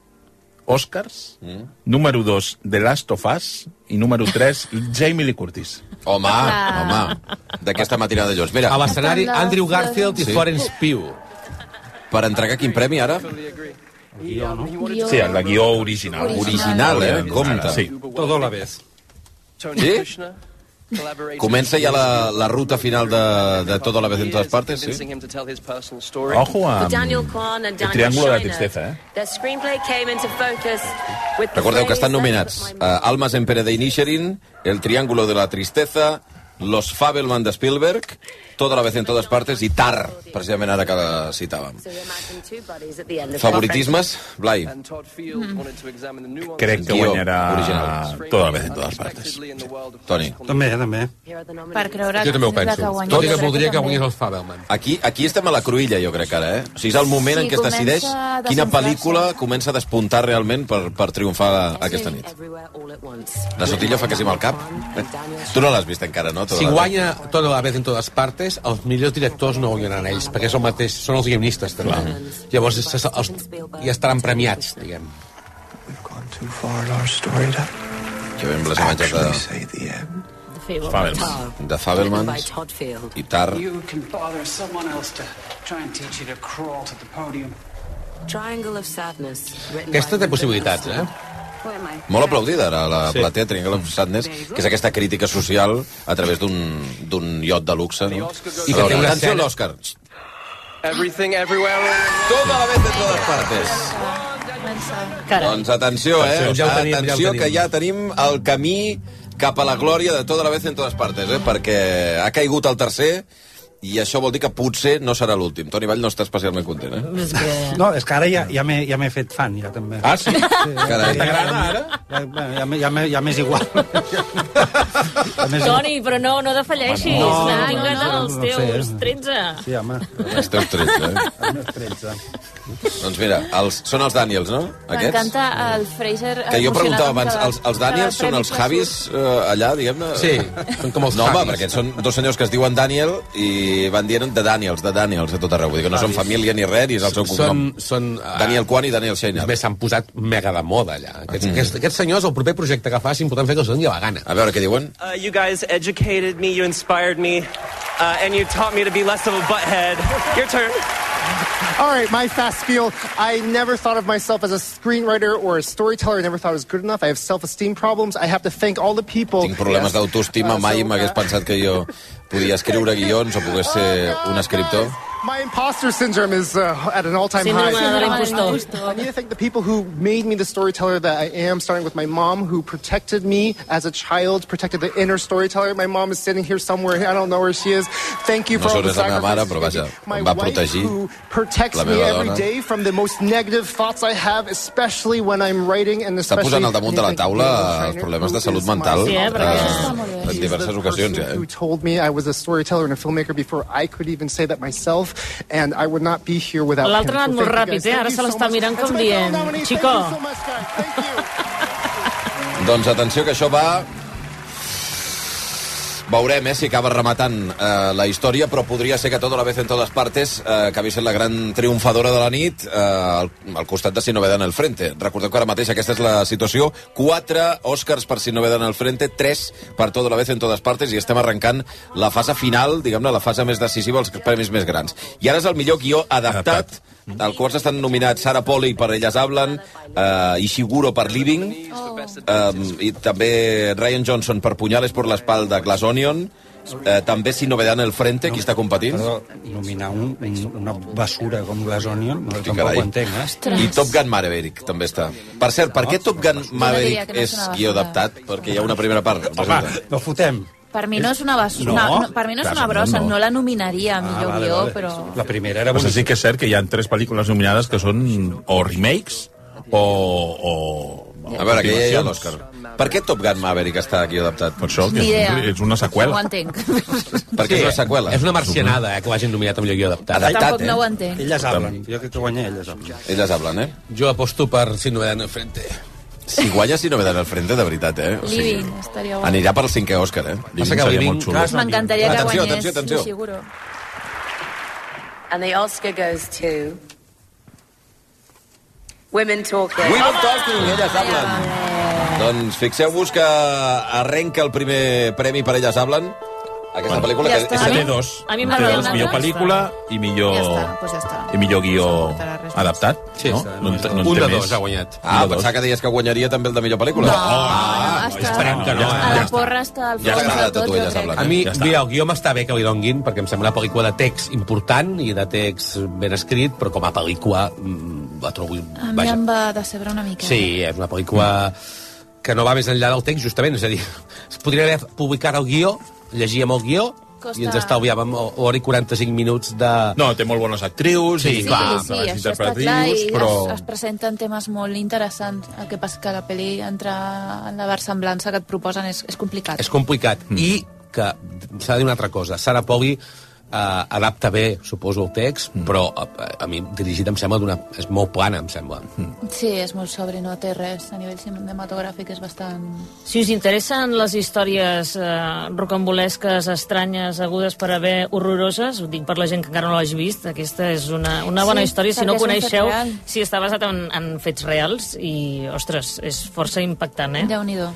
Speaker 4: Oscars, mm. número 2, The Last of Us, i número 3, Jamie Lee Curtis.
Speaker 1: Home, home, d'aquesta matinada de llocs. Mira,
Speaker 2: A l'escenari, Andrew Garfield i Florence Pugh.
Speaker 1: Per entregar quin premi, ara?
Speaker 4: Sí, la guió original.
Speaker 1: Original, eh? Compte.
Speaker 4: Sí.
Speaker 5: Todo a la vez.
Speaker 1: Sí? Comença ja la, la ruta final de, de tota la vez en totes partes, sí? Ojo a...
Speaker 11: Daniel Kwan and
Speaker 1: El
Speaker 11: Daniel
Speaker 1: triángulo de la
Speaker 11: Schreiner.
Speaker 1: tristeza, eh?
Speaker 11: Their screenplay came into focus with the
Speaker 1: Recordeu que
Speaker 11: phrase,
Speaker 1: estan nominats uh, Almas en Pere de Inisherin, El Triángulo de la Tristeza, Los Fabelman de Spielberg, Toda la vez en totes partes i Tar, precisament ara que la citàvem.
Speaker 11: two buddies at the end of
Speaker 1: Favoritismes, Blai?
Speaker 4: Crec que
Speaker 1: Guió
Speaker 4: guanyarà
Speaker 1: original.
Speaker 4: tota la vez en totes partes.
Speaker 1: Toni.
Speaker 5: També, també.
Speaker 12: Per creure
Speaker 5: Jo també ho
Speaker 12: sembla
Speaker 5: penso.
Speaker 12: guanyés,
Speaker 5: Tot i que
Speaker 12: crec
Speaker 5: voldria que
Speaker 12: també.
Speaker 5: guanyés
Speaker 2: els Fabelman.
Speaker 1: Aquí, aquí estem a la cruïlla, jo crec, ara, eh? O sigui, és el moment
Speaker 12: Sí,
Speaker 1: en què es
Speaker 12: comença
Speaker 1: decideix
Speaker 12: a
Speaker 1: quina
Speaker 12: desenflar-se.
Speaker 1: pel·lícula comença a despuntar realment per, per triomfar Ah, aquesta nit. La Sotillo fa que sí amb el cap. Tu no l'has vist encara, no? Tota
Speaker 2: Si
Speaker 1: la-
Speaker 2: guanya tota la vez en totes partes, els millors directors no guanyaran ells, perquè són, mateix, són els guionistes, també. Llavors se- se- els, ja estaran premiats, diguem.
Speaker 18: Too far in our story to
Speaker 1: Que ben les imatges
Speaker 18: actually
Speaker 1: de,
Speaker 18: say the end.
Speaker 11: Ah.
Speaker 1: Fabelman. de Fabelmans i Tar.
Speaker 19: You can bother someone else to try and teach you to crawl to the podium.
Speaker 11: Triangle of Sadness. written
Speaker 2: Aquesta
Speaker 11: by
Speaker 2: té possibilitats, eh?
Speaker 11: Who am I?
Speaker 1: Molt aplaudida, ara, la sí.
Speaker 2: Sí.
Speaker 1: platea Triangle of Sadness, que és aquesta crítica social a través d'un d'un iot de luxe. No?
Speaker 18: I que té una
Speaker 1: Atenció a
Speaker 18: escena-
Speaker 1: l'Òscar.
Speaker 18: Everything, everywhere, all at
Speaker 1: Toda la vez de todas partes. Doncs atenció, eh?
Speaker 2: Atenció, ja ho tenim, ja ho
Speaker 1: atenció
Speaker 2: tenim.
Speaker 1: que ja tenim el camí cap a la glòria de tota la vez en totes partes, eh? Perquè ha caigut el tercer i això vol dir que potser no serà l'últim. Toni Vall no està especialment content, eh?
Speaker 5: No, és que ara ja, ja m'he ja m'he fet fan, ja, també.
Speaker 1: Ah, sí? Carai.
Speaker 5: T'agrada, ara? Ja, bueno, ja, m'he- ja, m'he- ja m'és igual. ja m'és igual.
Speaker 8: Toni, però no, no defalleixis.
Speaker 5: No, no, no,
Speaker 8: Vinga,
Speaker 5: no, no,
Speaker 8: els
Speaker 5: no sé. eh.
Speaker 8: teus 13.
Speaker 5: Sí, home.
Speaker 1: Els teus 13, eh?
Speaker 5: Els meus 13.
Speaker 1: Doncs mira, els, són els Daniels, no? Aquests?
Speaker 12: M'encanta el Fraser...
Speaker 1: Que jo
Speaker 12: emocionat
Speaker 1: preguntava
Speaker 12: amb
Speaker 1: abans,
Speaker 12: cada-
Speaker 1: els, els Daniels
Speaker 12: cada
Speaker 1: són els
Speaker 12: premi que
Speaker 1: Javis
Speaker 12: surt.
Speaker 1: eh, allà, diguem-ne?
Speaker 2: Sí, són com els
Speaker 1: No, home,
Speaker 2: Javis.
Speaker 1: perquè són dos senyors que es diuen Daniel i van dient de Daniels, de Daniels, a tot arreu. Vull dir que no són família ni res, ni és el seu cognom.
Speaker 2: Són, són,
Speaker 1: Daniel Kwan i Daniel Sheinert.
Speaker 2: Bé, s'han posat mega de moda allà. Aquests, mm. aquests, aquests senyors, el proper projecte que facin, podran fer que els doni la gana.
Speaker 1: A veure què diuen.
Speaker 20: Uh,
Speaker 12: Oh,
Speaker 20: you guys educated me, you inspired me, uh, and you taught me to be less of a butthead. Your turn.
Speaker 21: All right, my fast spiel. I never thought of myself as a screenwriter or a storyteller. I never thought I was good enough. I have self-esteem problems. I have to thank all the people.
Speaker 1: Tinc problemes d'autoestima, mai m'hagués pensat que jo podia escriure guions o pogués ser eh, un escriptor.
Speaker 21: My imposter syndrome is uh, at an all-time high.
Speaker 8: Síndrome de l'impostor.
Speaker 21: I need to thank the people who made me the storyteller that I am, starting with my mom, who protected me as a child, protected the inner storyteller. My mom is sitting here somewhere. I don't know where she is. Thank you
Speaker 1: No
Speaker 21: for all
Speaker 1: sóc
Speaker 21: the
Speaker 1: res de la meva mare,
Speaker 21: sacrifices.
Speaker 1: però vaja,
Speaker 21: My
Speaker 1: em va
Speaker 21: wife,
Speaker 1: protegir
Speaker 21: who protects
Speaker 1: la
Speaker 21: me
Speaker 1: meva
Speaker 21: every
Speaker 1: dona.
Speaker 21: day from the most negative thoughts I have, especially when I'm writing and
Speaker 1: Està
Speaker 21: especially...
Speaker 1: posant al damunt de la taula els problemes de salut mental
Speaker 21: Sí, eh, perquè està
Speaker 1: eh, en diverses ocasions.
Speaker 21: person
Speaker 1: Ja. eh?
Speaker 21: who told me I was a storyteller and a filmmaker before I could even say that myself, and I would not be here without him.
Speaker 8: L'altre ha
Speaker 21: So
Speaker 8: anat
Speaker 21: thank
Speaker 8: molt
Speaker 21: you
Speaker 8: ràpid,
Speaker 21: guys.
Speaker 8: eh?
Speaker 21: Thank
Speaker 8: Ara
Speaker 21: you
Speaker 8: se
Speaker 21: so
Speaker 8: l'està
Speaker 21: much.
Speaker 8: mirant
Speaker 21: That's
Speaker 8: com
Speaker 21: my
Speaker 8: dient,
Speaker 21: nominee. Thank
Speaker 8: Chico.
Speaker 21: you so much, guys. Thank you.
Speaker 1: Doncs atenció que això va... Veurem eh, si acaba rematant eh, la història, però podria ser que tota la vez en todas partes eh, acabi sent la gran triomfadora de la nit eh, al, al costat de Si no veden el frente. Recordeu que ara mateix aquesta és la situació. Quatre Oscars per Si no veden el frente, tres per tota la vez en todas partes i estem arrencant la fase final, diguem-ne, la fase més decisiva, els premis més grans. I ara és el millor guió adaptat, al qual estan nominats Sara Poli per Elles Hablan, eh, Ishiguro per Living, Um, I també Ryan Johnson per Punyales por la espalda, Glass Onion. Eh, també si no vedan el frente, qui està competint.
Speaker 5: Perdó, nominar un, un, una basura com Glass Onion, no, tampoc
Speaker 1: carai.
Speaker 5: ho entenc, eh?
Speaker 1: I Top Gun Maverick també està. Per cert, per què Top Gun
Speaker 12: diria
Speaker 1: Maverick
Speaker 12: que no
Speaker 1: és
Speaker 12: és una
Speaker 1: guió
Speaker 12: basura.
Speaker 1: adaptat? Perquè hi ha una primera part.
Speaker 5: Home, no fotem.
Speaker 12: Per mi no és una basura,
Speaker 4: No,
Speaker 12: no, per mi no és
Speaker 4: clar,
Speaker 12: una brossa,
Speaker 4: no,
Speaker 12: no,
Speaker 4: no.
Speaker 12: la nominaria a millor
Speaker 4: vale,
Speaker 12: guió,
Speaker 4: vale.
Speaker 12: però...
Speaker 5: Ah, La primera era
Speaker 4: Però sí que és cert que hi ha tres pel·lícules nominades que són o remakes o... o
Speaker 1: A veure, aquella hi ha l'Òscar. Per què Top Gun Maverick està aquí adaptat?
Speaker 4: Per això,
Speaker 12: Ni
Speaker 4: Pues que
Speaker 12: idea.
Speaker 4: és, és una
Speaker 12: No ho
Speaker 4: seqüela.
Speaker 12: entenc.
Speaker 1: Perquè és una seqüela. eh?
Speaker 2: És una marcianada, eh, que l'hagin nominat amb lloc adaptat.
Speaker 12: Tampoc no ho entenc.
Speaker 5: Elles hablen. Jo crec que guanya elles hablen.
Speaker 1: Elles hablen, eh?
Speaker 2: Jo aposto per si no veuen el frente.
Speaker 1: Si guanya si no vedan el frente, de veritat, eh? O sigui,
Speaker 12: Living, estaria bo.
Speaker 1: anirà per cinquè Òscar, eh?
Speaker 2: Passa que Living-
Speaker 12: M'encantaria que
Speaker 1: Atenció,
Speaker 12: guanyés,
Speaker 1: atenció, atenció.
Speaker 12: Ishiguro.
Speaker 11: And the Oscar goes to Women Talking.
Speaker 1: Women Talking, elles hablen. Doncs fixeu-vos que arrenca el primer premi per Elles Hablen. Aquesta pel·lícula
Speaker 12: Ja
Speaker 1: que
Speaker 12: està. eh?
Speaker 1: és
Speaker 4: Té dos.
Speaker 12: A mi
Speaker 4: Té
Speaker 12: m'agrada
Speaker 4: dos,
Speaker 12: una
Speaker 4: millor
Speaker 12: altra.
Speaker 4: pel·lícula i millor,
Speaker 12: Ja està, doncs ja està.
Speaker 4: i millor guió
Speaker 12: portarà res més.
Speaker 4: adaptat.
Speaker 2: Sí,
Speaker 4: no?
Speaker 2: està,
Speaker 4: No, en té- no en
Speaker 2: un
Speaker 4: té
Speaker 2: de
Speaker 4: més.
Speaker 2: dos ha guanyat.
Speaker 1: Ah, pensava que deies que guanyaria també el de millor pel·lícula.
Speaker 12: No,
Speaker 1: Ah,
Speaker 12: no,
Speaker 2: esperem que no, eh?
Speaker 12: A
Speaker 2: Ja
Speaker 12: la
Speaker 2: està.
Speaker 12: porra està al
Speaker 1: Ja
Speaker 12: fons
Speaker 1: està,
Speaker 12: de
Speaker 1: tot
Speaker 12: tot,
Speaker 1: ho
Speaker 12: jo
Speaker 1: elles
Speaker 12: crec.
Speaker 1: hablen.
Speaker 2: A mi,
Speaker 1: Ja està.
Speaker 2: mira, el guió m'està bé que li donguin, perquè em sembla una pel·lícula de text important i de text ben escrit, però com a pel·lícula mm, la trobo...
Speaker 12: A mi
Speaker 2: Vaja.
Speaker 12: em va decebre una mica.
Speaker 2: Sí, és una pel·lícula que no va més enllà del text, justament. És a dir, es podria haver publicat el guió, llegíem el guió,
Speaker 12: Costa-
Speaker 2: i ens estalviàvem o- hora i 45 minuts de...
Speaker 4: No, té molt bones actrius
Speaker 2: Sí,
Speaker 4: i
Speaker 2: sí,
Speaker 4: clar,
Speaker 12: sí,
Speaker 4: bones
Speaker 12: això està clar i
Speaker 4: interpretius, però...
Speaker 12: es, es presenten temes molt interessants. El que passa que la pel·li entra en la versemblança que et proposen és, és complicat.
Speaker 2: És complicat. Mm. I que s'ha de dir una altra cosa. Sara Poli eh, adapta bé, suposo, el text, mm. però a, a mi dirigit em sembla d'una... És molt plana, em sembla. Mm.
Speaker 12: Sí, és molt sobre, no té res. A nivell cinematogràfic és bastant...
Speaker 8: Si us interessen les històries eh, rocambolesques, estranyes, agudes per haver horroroses, ho dic per la gent que encara no l'hagi vist, aquesta és una, una bona
Speaker 12: Sí,
Speaker 8: història, si
Speaker 12: perquè
Speaker 8: no
Speaker 12: és un fet
Speaker 8: coneixeu,
Speaker 12: real.
Speaker 8: si està basat en, en fets reals, i, ostres, és força impactant, eh?
Speaker 12: Déu-n'hi-do.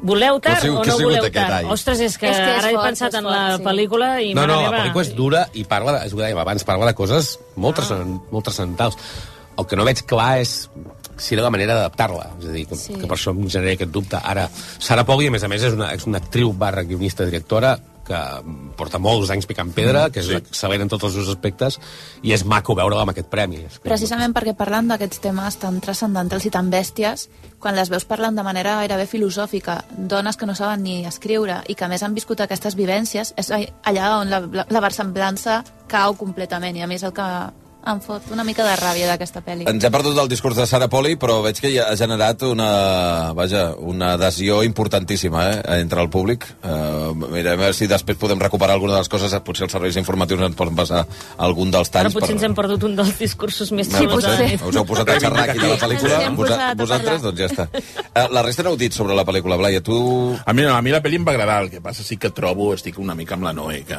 Speaker 8: Voleu tard
Speaker 1: Que ha sigut-
Speaker 8: o
Speaker 1: que ha
Speaker 8: no
Speaker 1: sigut
Speaker 8: voleu
Speaker 1: aquest
Speaker 8: tard?
Speaker 1: any?
Speaker 8: Ostres, és que,
Speaker 12: És que és
Speaker 8: ara he
Speaker 12: fort,
Speaker 8: pensat
Speaker 12: és
Speaker 8: en
Speaker 12: fort,
Speaker 8: la
Speaker 12: sí.
Speaker 8: pel·lícula i
Speaker 2: No,
Speaker 8: mare
Speaker 2: no, la
Speaker 8: meva.
Speaker 2: pel·lícula és dura i parla, de, és ho dèiem abans, parla de coses molt, ah. transcendent, molt transcendentals. El que no veig clar és si era la manera d'adaptar-la, és a dir, que, sí.
Speaker 12: Sí.
Speaker 2: que per això em genera aquest dubte. Ara, Sara Poggi, a més a més, és una, és una actriu barra guionista directora que porta molts anys picant pedra, que és Mm. sí. excel·lent en tots els seus aspectes, i és maco veure-la amb aquest premi. És que-
Speaker 12: Precisament perquè parlant d'aquests temes tan transcendentals i tan bèsties, quan les veus parlant de manera gairebé filosòfica, dones que no saben ni escriure i que a més han viscut aquestes vivències, és all- allà on la, la, la versemblança cau completament i a més el que em fot una mica de ràbia d'aquesta pel·li.
Speaker 1: Ens hem perdut el discurs de Sara Poli, però veig que ja ha generat una, vaja, una adhesió importantíssima eh, entre el públic. Uh, mira, a veure si després podem recuperar alguna de les coses. Potser els serveis informatius ens poden passar algun dels
Speaker 8: Ara
Speaker 1: talls.
Speaker 8: potser ens hem perdut un dels discursos més
Speaker 1: Sí,
Speaker 8: xulos.
Speaker 1: potser.
Speaker 8: eh?
Speaker 1: Us heu posat a xerrar aquí de la pel·lícula.
Speaker 12: Ens hem
Speaker 1: Vosa,
Speaker 12: posat a
Speaker 1: vosaltres, doncs ja està. Eh, la resta no heu dit sobre la pel·lícula, Blai. A tu...
Speaker 4: A mi, no, a mi la pel·li em va agradar, el que passa sí que trobo, estic una mica amb la Noe, que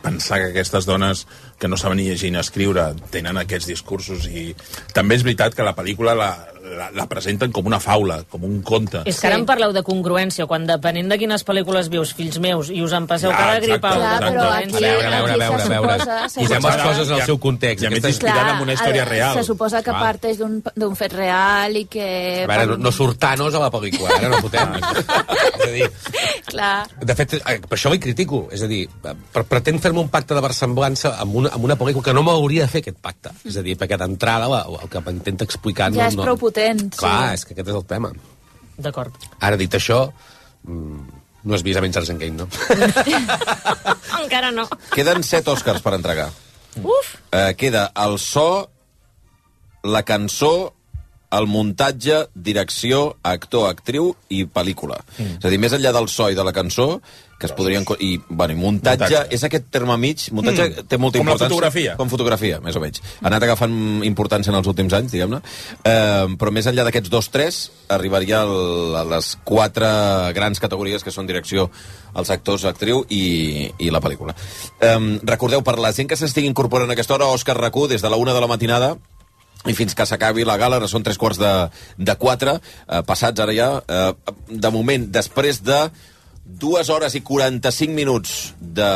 Speaker 4: pensar que aquestes dones que no saben ni llegir ni escriure tenen aquests discursos i també és veritat que la pel·lícula la, la, la presenten com una faula, com un conte.
Speaker 8: És que ara em parleu de congruència, quan depenent de quines pel·lícules vius, fills meus, i us en passeu cada gripa.
Speaker 2: a veure, a veure, a veure, a veure.
Speaker 12: suposa-
Speaker 2: Posem les
Speaker 12: suposa-
Speaker 2: coses en el seu context.
Speaker 4: més
Speaker 2: Aquesta és-
Speaker 4: inspirada en una història
Speaker 12: ara,
Speaker 2: real.
Speaker 12: Se suposa que
Speaker 2: Clar.
Speaker 12: parteix d'un d'un fet real i que...
Speaker 2: A veure, no, no surt Thanos a la pel·lícula, ara no fotem. és a dir,
Speaker 12: Clar.
Speaker 2: de fet, eh, per això li critico. És a dir, per, pretén fer-me un pacte de versemblança amb una, amb una pel·lícula que no m'hauria de fer aquest pacte. És a dir, perquè d'entrada la- el que m'intenta explicar...
Speaker 12: Ja és
Speaker 2: no,
Speaker 12: prou
Speaker 2: no...
Speaker 12: potent.
Speaker 2: Clar,
Speaker 12: sí.
Speaker 2: és que aquest és el tema.
Speaker 8: D'acord.
Speaker 2: Ara, dit això, mm, no has vist Avengers Endgame, no?
Speaker 8: Encara no.
Speaker 1: Queden set Oscars per entregar.
Speaker 8: Uf!
Speaker 1: Eh, queda el so, la cançó, el muntatge, direcció, actor, actriu i pel·lícula. Mm. És a dir, més enllà del so i de la cançó, que es podrien... co- I, bueno, i muntatge, muntatge,
Speaker 4: Muntatge.
Speaker 1: és aquest terme mig, muntatge
Speaker 4: Mm.
Speaker 1: mm. té molta
Speaker 4: Com la
Speaker 1: importància.
Speaker 4: fotografia.
Speaker 1: Com fotografia, més o menys. Ha anat agafant importància en els últims anys, diguem-ne. Eh, però més enllà d'aquests dos, tres, arribaria el, a les quatre grans categories que són direcció, els actors, actriu i, i la pel·lícula. Eh, recordeu, per la gent que s'estigui incorporant a aquesta hora, Òscar Racú, des de la una de la matinada, i fins que s'acabi la gala, ara són tres quarts de, de quatre, eh, passats ara ja, eh, de moment, després de dues hores i 45 minuts de,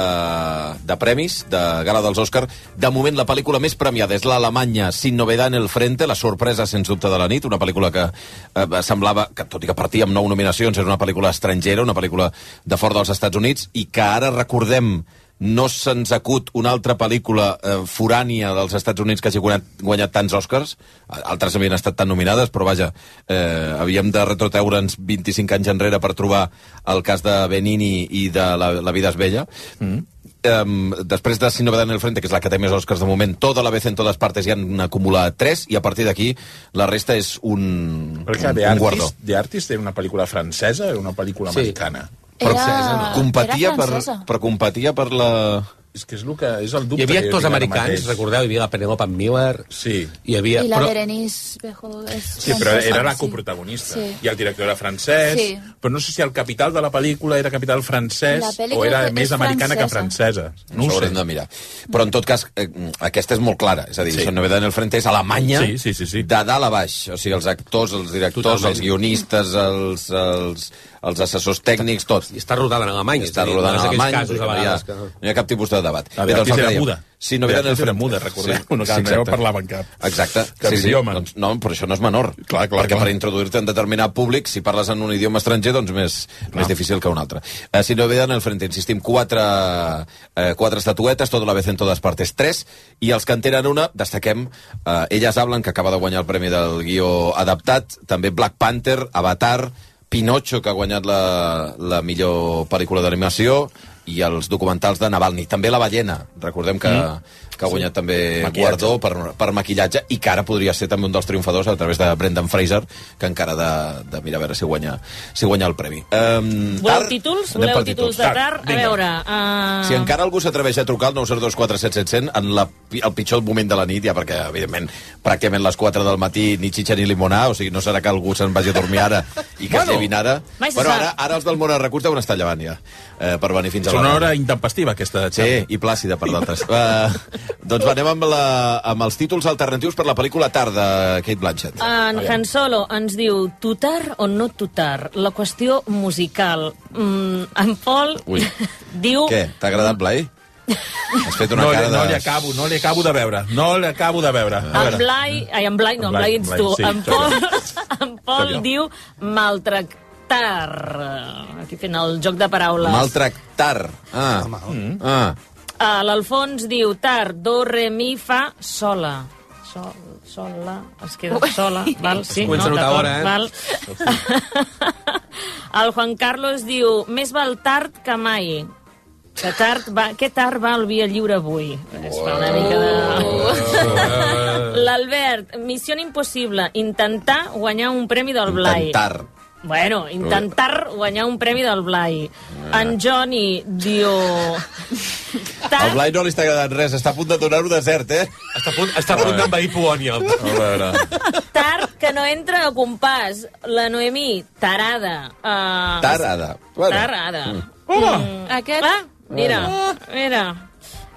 Speaker 1: de premis, de gala dels Òscar, de moment la pel·lícula més premiada és l'Alemanya Sin novedad en el frente, la sorpresa, sens dubte, de la nit, una pel·lícula que eh, semblava, que tot i que partia amb nou nominacions, era una pel·lícula estrangera, una pel·lícula de fora dels Estats Units, i que ara recordem no se'ns acut una altra pel·lícula eh, forània dels Estats Units que hagi guanyat, guanyat tants Oscars. Altres havien estat tan nominades, però vaja, eh, havíem de retroteure'ns 25 anys enrere per trobar el cas de Benini i de La, la vida és bella. Mm. Um, després de Sin novedad en el frente, que és la que té més Oscars de moment, tota la vez en totes partes hi han acumulat 3 i a partir d'aquí la resta és un,
Speaker 4: Perquè
Speaker 1: un,
Speaker 4: The
Speaker 1: un guardó.
Speaker 4: Artist, The Artist era una pel·lícula francesa, era una pel·lícula
Speaker 1: Sí.
Speaker 4: sí. americana.
Speaker 1: Però Francesa, no? competia
Speaker 12: era
Speaker 1: per,
Speaker 12: francesa.
Speaker 1: per competia per la...
Speaker 4: És que és el que és el dubte.
Speaker 2: Hi havia actors
Speaker 4: que jo tinc ara
Speaker 2: americans,
Speaker 4: mateix.
Speaker 2: recordeu? Hi havia la Penelope Miller.
Speaker 4: Sí.
Speaker 2: Hi havia...
Speaker 12: I la
Speaker 2: però-
Speaker 12: Berenice Bejo és
Speaker 4: Sí, però
Speaker 12: francesa,
Speaker 4: era la
Speaker 12: sí.
Speaker 4: coprotagonista. Sí.
Speaker 12: Sí.
Speaker 4: I el director era francès,
Speaker 12: Sí.
Speaker 4: sí. però no sé si el capital de la pel·lícula era capital francès
Speaker 12: La
Speaker 4: o
Speaker 12: pel·lícula
Speaker 4: era
Speaker 12: és
Speaker 4: més americana que francesa.
Speaker 1: Això
Speaker 4: No ho sé.
Speaker 1: haurem de mirar. Però, en tot cas, eh, aquesta és molt clara. És a dir, sí.
Speaker 4: Sí.
Speaker 1: Novedad en el Frente és Alemanya
Speaker 4: Sí, sí, sí, sí.
Speaker 1: de dalt a baix. O sigui, els actors, els directors,
Speaker 2: Totalment.
Speaker 1: els guionistes, els, els, els assessors tècnics, tot. I
Speaker 2: està rodant en Alemany. és a
Speaker 1: Està
Speaker 2: dir,
Speaker 1: rodant
Speaker 2: no és
Speaker 1: en
Speaker 2: aquells
Speaker 1: Alemany.
Speaker 2: casos a
Speaker 1: vull dir,
Speaker 2: vegades
Speaker 1: no, hi
Speaker 2: que-
Speaker 1: ha, no hi ha cap tipus de debat.
Speaker 4: La
Speaker 1: Bé, doncs
Speaker 4: Beatriz
Speaker 1: el que
Speaker 4: era
Speaker 1: dèiem.
Speaker 4: muda.
Speaker 1: Sí, Novedad en el
Speaker 4: Beatriz era
Speaker 1: Frente.
Speaker 4: muda, recordem. No cal,
Speaker 1: exacte.
Speaker 4: anava per la banca.
Speaker 1: Exacte.
Speaker 4: Que idioma.
Speaker 1: Doncs, no, però això no és menor. Clar, clar, perquè per introduir-te en determinat públic, si parles en un idioma estranger, doncs més, més difícil que un altre. Eh, si no ve en el frente, insistim, quatre, eh, quatre estatuetes, tota la vez en totes partes, tres, i els que en tenen una, destaquem, eh, Elles hablen, que acaba de guanyar el premi del guió adaptat, també Black Panther, Avatar, Pinocho, que ha guanyat la, la millor pel·lícula d'animació, i els documentals de Navalny. També La ballena, recordem que, mm. que ha guanyat també
Speaker 4: Maquillatge.
Speaker 1: guardó per, per maquillatge i que ara podria ser també un dels triomfadors a través de Brendan Fraser, que encara ha de, de mirar a veure si guanya, si guanya el premi. Um,
Speaker 8: Voleu títols?
Speaker 1: Anem
Speaker 8: Voleu
Speaker 1: per
Speaker 8: títols
Speaker 1: títols.
Speaker 8: de tard? A
Speaker 1: Vinga.
Speaker 8: veure...
Speaker 1: Si
Speaker 8: Uh...
Speaker 1: encara algú s'atreveix a trucar al 9024700 en la, pi- el pitjor moment de la nit, ja perquè, evidentment, pràcticament les 4 del matí ni xitxa ni limonà, o sigui, no serà que algú se'n vagi a dormir ara i que bueno, es llevin ara.
Speaker 4: mai se
Speaker 1: Bueno,
Speaker 4: sap.
Speaker 1: ara, ara els del món a recurs deuen estar llevant ja, eh, per venir fins
Speaker 4: És
Speaker 1: a la
Speaker 4: una hora intempestiva, aquesta
Speaker 1: Sí, i plàcida per d'altres. uh, doncs va, anem amb, la, amb els títols alternatius per la pel·lícula Tarda, Kate Blanchett.
Speaker 8: En Han Solo ens diu tutar o no tutar, la qüestió musical. Mm, en Pol
Speaker 1: Ui,
Speaker 8: diu...
Speaker 1: què? T'ha agradat, Blai? Has fet una
Speaker 4: no, li-
Speaker 1: cara de... Ah.
Speaker 4: no li acabo, no li acabo de veure. No li acabo de veure. A
Speaker 8: En
Speaker 4: veure.
Speaker 8: Blai, ai, en Blai, no, en Blai, ets tu.
Speaker 4: sí,
Speaker 8: en
Speaker 4: sóc
Speaker 8: Pol, en
Speaker 4: Sóc
Speaker 8: Pol
Speaker 4: jo.
Speaker 8: diu maltractar. Aquí fent el joc de paraules.
Speaker 1: Maltractar. Ah. Mm.
Speaker 4: oh.
Speaker 1: ah.
Speaker 8: Ah, L'Alfons diu tar, do, re, mi, fa, sola. Sol, sola, es queda sola, val? Sí, no,
Speaker 2: Comença a notar
Speaker 8: d'acord,
Speaker 2: hora, eh?
Speaker 8: val? El Juan Carlos diu, més val tard que mai. Que tard va, que tard va el via lliure avui. Es fa una mica de... L'Albert, missió impossible, intentar guanyar un premi del Blai.
Speaker 1: Intentar.
Speaker 8: Bueno, intentar guanyar un premi del Blai.
Speaker 1: Ah.
Speaker 8: En Johnny diu...
Speaker 1: Al Blai no li està agradant res, està a punt de donar-ho desert, eh?
Speaker 2: Està a punt, està a punt d'envair Polònia. A
Speaker 1: veure...
Speaker 8: Tard, que no entra a compàs. La Noemí, tarada. Uh,
Speaker 1: Tarada. Mm.
Speaker 8: Bueno. Tarada.
Speaker 12: Hola!
Speaker 8: Aquest... Ah, mira, mira.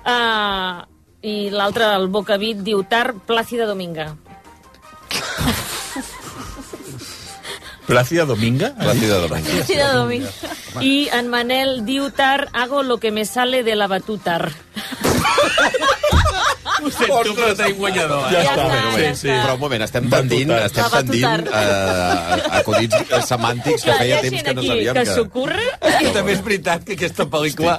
Speaker 8: Uh, I l'altre, el Bocavit, diu tard, Plàcida Dominga.
Speaker 4: Plàcida Dominga?
Speaker 1: Plàcida Dominga.
Speaker 8: Plàcida Dominga. I en Manel diu tar, hago lo que me sale de la batutar.
Speaker 4: Ho sento, però tenim guanyador. eh?
Speaker 8: Ja està,
Speaker 1: Bueno,
Speaker 8: ja
Speaker 1: bé,
Speaker 8: està.
Speaker 1: Però un moment, estem tendint, estem
Speaker 8: Va batutar.
Speaker 1: tendint eh, acudits eh, semàntics que feia temps que no sabíem
Speaker 8: que...
Speaker 1: que...
Speaker 8: s'ocorre?
Speaker 2: I també és veritat que aquesta pel·lícula...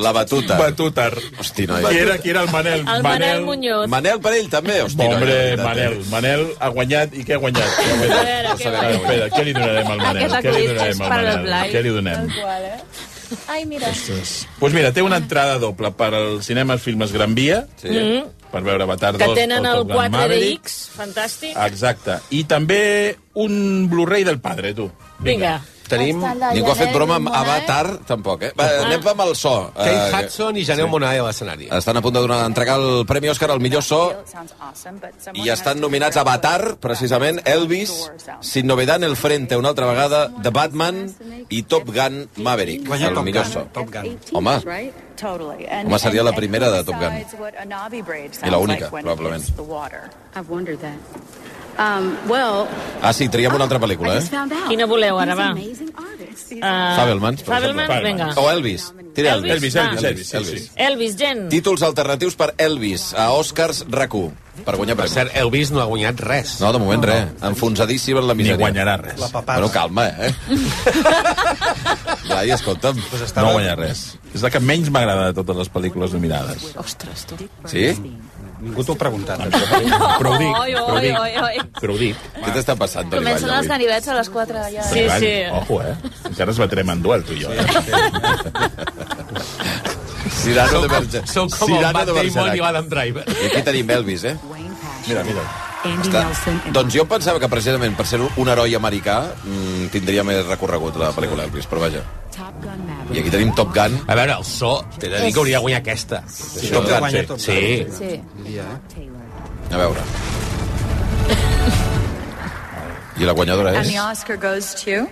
Speaker 1: La batuta.
Speaker 4: Batutar.
Speaker 1: Hosti, no,
Speaker 4: Qui era, qui era el Manel?
Speaker 8: El Manel Muñoz.
Speaker 1: Manel Parell, també. Hosti, no,
Speaker 4: Hombre,
Speaker 1: ja,
Speaker 4: Manel. Manel ha guanyat i què ha guanyat? Què ha
Speaker 8: A
Speaker 4: guanyat?
Speaker 8: veure, què
Speaker 4: Espera, espera, què li donarem al Manel?
Speaker 8: Aquest
Speaker 4: Què li
Speaker 8: acudit és
Speaker 4: donarem
Speaker 8: per
Speaker 4: al
Speaker 8: al
Speaker 4: Manel?
Speaker 8: Blai. eh?
Speaker 4: Què li donem?
Speaker 12: Ai, mira.
Speaker 4: Doncs mira, té una entrada doble per al cinema Filmes Gran Via,
Speaker 1: sí.
Speaker 8: Mm,
Speaker 4: per veure Avatar 2.
Speaker 8: que tenen
Speaker 4: o
Speaker 8: el Ah,
Speaker 4: Top Gun
Speaker 8: 4DX,
Speaker 4: Maverick.
Speaker 8: fantàstic.
Speaker 4: Exacte. I també un Blu-ray del padre, tu.
Speaker 8: Vinga.
Speaker 2: Tenim
Speaker 1: Ningú ha fet broma amb Avatar, tampoc, eh? Va, anem amb el so.
Speaker 2: Kate
Speaker 1: Eh,
Speaker 2: Hudson i Janelle Monáe a l'escenari.
Speaker 1: estan a punt de donar, entregar el Premi Òscar al millor so i estan nominats Avatar, precisament, Elvis, Sin Novedad en el Frente una altra vegada, The Batman i Top Gun Maverick,
Speaker 5: Guanya
Speaker 1: el
Speaker 5: Top
Speaker 1: millor
Speaker 5: Gun.
Speaker 1: so.
Speaker 5: Top Gun.
Speaker 1: Home,
Speaker 7: Totally.
Speaker 1: Home, seria la primera de Top Gun.
Speaker 7: Gun.
Speaker 1: I la única, probablement.
Speaker 7: I've wondered that. Um, well,
Speaker 1: Ah, sí, triem una altra pel·lícula, eh?
Speaker 8: Quina voleu ara, va? Uh,
Speaker 1: Fabelmans, per
Speaker 8: Fabelmans,
Speaker 1: exemple.
Speaker 8: vinga.
Speaker 1: O Elvis. Tira Elvis.
Speaker 8: Elvis, Elvis,
Speaker 4: va. Elvis, Elvis, Elvis.
Speaker 8: Elvis, gent.
Speaker 1: Títols alternatius per Elvis, a Oscars RAC1, per guanyar
Speaker 2: Per
Speaker 1: premis.
Speaker 2: cert, Elvis no ha guanyat res.
Speaker 1: No, de moment no, res. Enfonsadíssim en la misèria.
Speaker 4: guanyarà res.
Speaker 5: La papada.
Speaker 1: Bueno, calma, eh? Blai, escolta'm. Pues
Speaker 4: No guanya res. És la que menys m'agrada de totes les pel·lícules nominades.
Speaker 12: Ostres, tu.
Speaker 1: Sí?
Speaker 5: Ningú t'ho ha preguntat.
Speaker 4: Però ho dic,
Speaker 12: Oi,
Speaker 4: però ho
Speaker 12: oi,
Speaker 4: dic,
Speaker 12: oi, oi.
Speaker 4: però ho dic.
Speaker 1: Què t'està passant, Toni Vall?
Speaker 12: Comencen els
Speaker 1: avui?
Speaker 12: ganivets a les 4. Ja.
Speaker 8: Sí,
Speaker 4: Vall,
Speaker 8: sí.
Speaker 4: Ojo, eh? Encara es batrem en duel, tu i jo. Eh?
Speaker 1: Cyrano de Bergerac.
Speaker 2: Sou com el
Speaker 1: Cyrano
Speaker 2: Matt
Speaker 1: de
Speaker 2: Damon i
Speaker 1: Bergerac.
Speaker 2: l'Adam Driver.
Speaker 1: I aquí tenim Elvis, eh?
Speaker 4: Mira, mira.
Speaker 1: Està... Doncs jo pensava que precisament per ser un heroi americà mmm, tindria més recorregut la pel·lícula Elvis, però vaja. I aquí tenim Top Gun.
Speaker 2: A veure, el so, t'he de dir que hauria de guanyar aquesta.
Speaker 1: Sí, Top Gun,
Speaker 5: Guanya
Speaker 1: sí.
Speaker 5: Top Gun.
Speaker 2: Sí.
Speaker 12: Sí.
Speaker 1: A veure. I la guanyadora és...
Speaker 11: Oscar goes to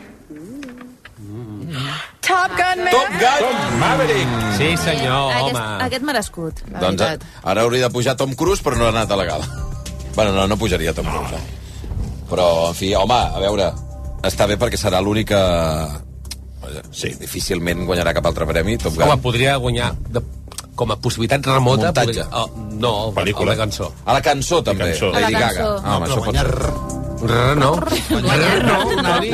Speaker 7: Mm.
Speaker 11: Top Gun Maverick.
Speaker 1: Top Gun! Mm.
Speaker 4: Maverick!
Speaker 2: Sí, senyor,
Speaker 12: aquest,
Speaker 2: home.
Speaker 12: aquest merescut, la
Speaker 1: Doncs
Speaker 12: veritat.
Speaker 1: a- ara hauria de pujar Tom Cruise, però no ha anat a la gala. Bueno, no, no pujaria Tom Cruise. Eh? Però, en fi, home, a veure, està bé perquè serà l'única... Vaja, Sí, difícilment guanyarà cap altre premi, Top
Speaker 2: Home,
Speaker 1: Gun.
Speaker 2: podria guanyar de, com a possibilitat remota...
Speaker 1: Muntatge.
Speaker 2: podria- Oh, no, pel·lícula.
Speaker 4: Pel·lícula.
Speaker 2: la cançó.
Speaker 1: A la cançó, també.
Speaker 4: cançó.
Speaker 12: A la
Speaker 1: Lady Gaga.
Speaker 12: cançó.
Speaker 1: Ah, home, això pot ser.
Speaker 2: R no. R no, Toni.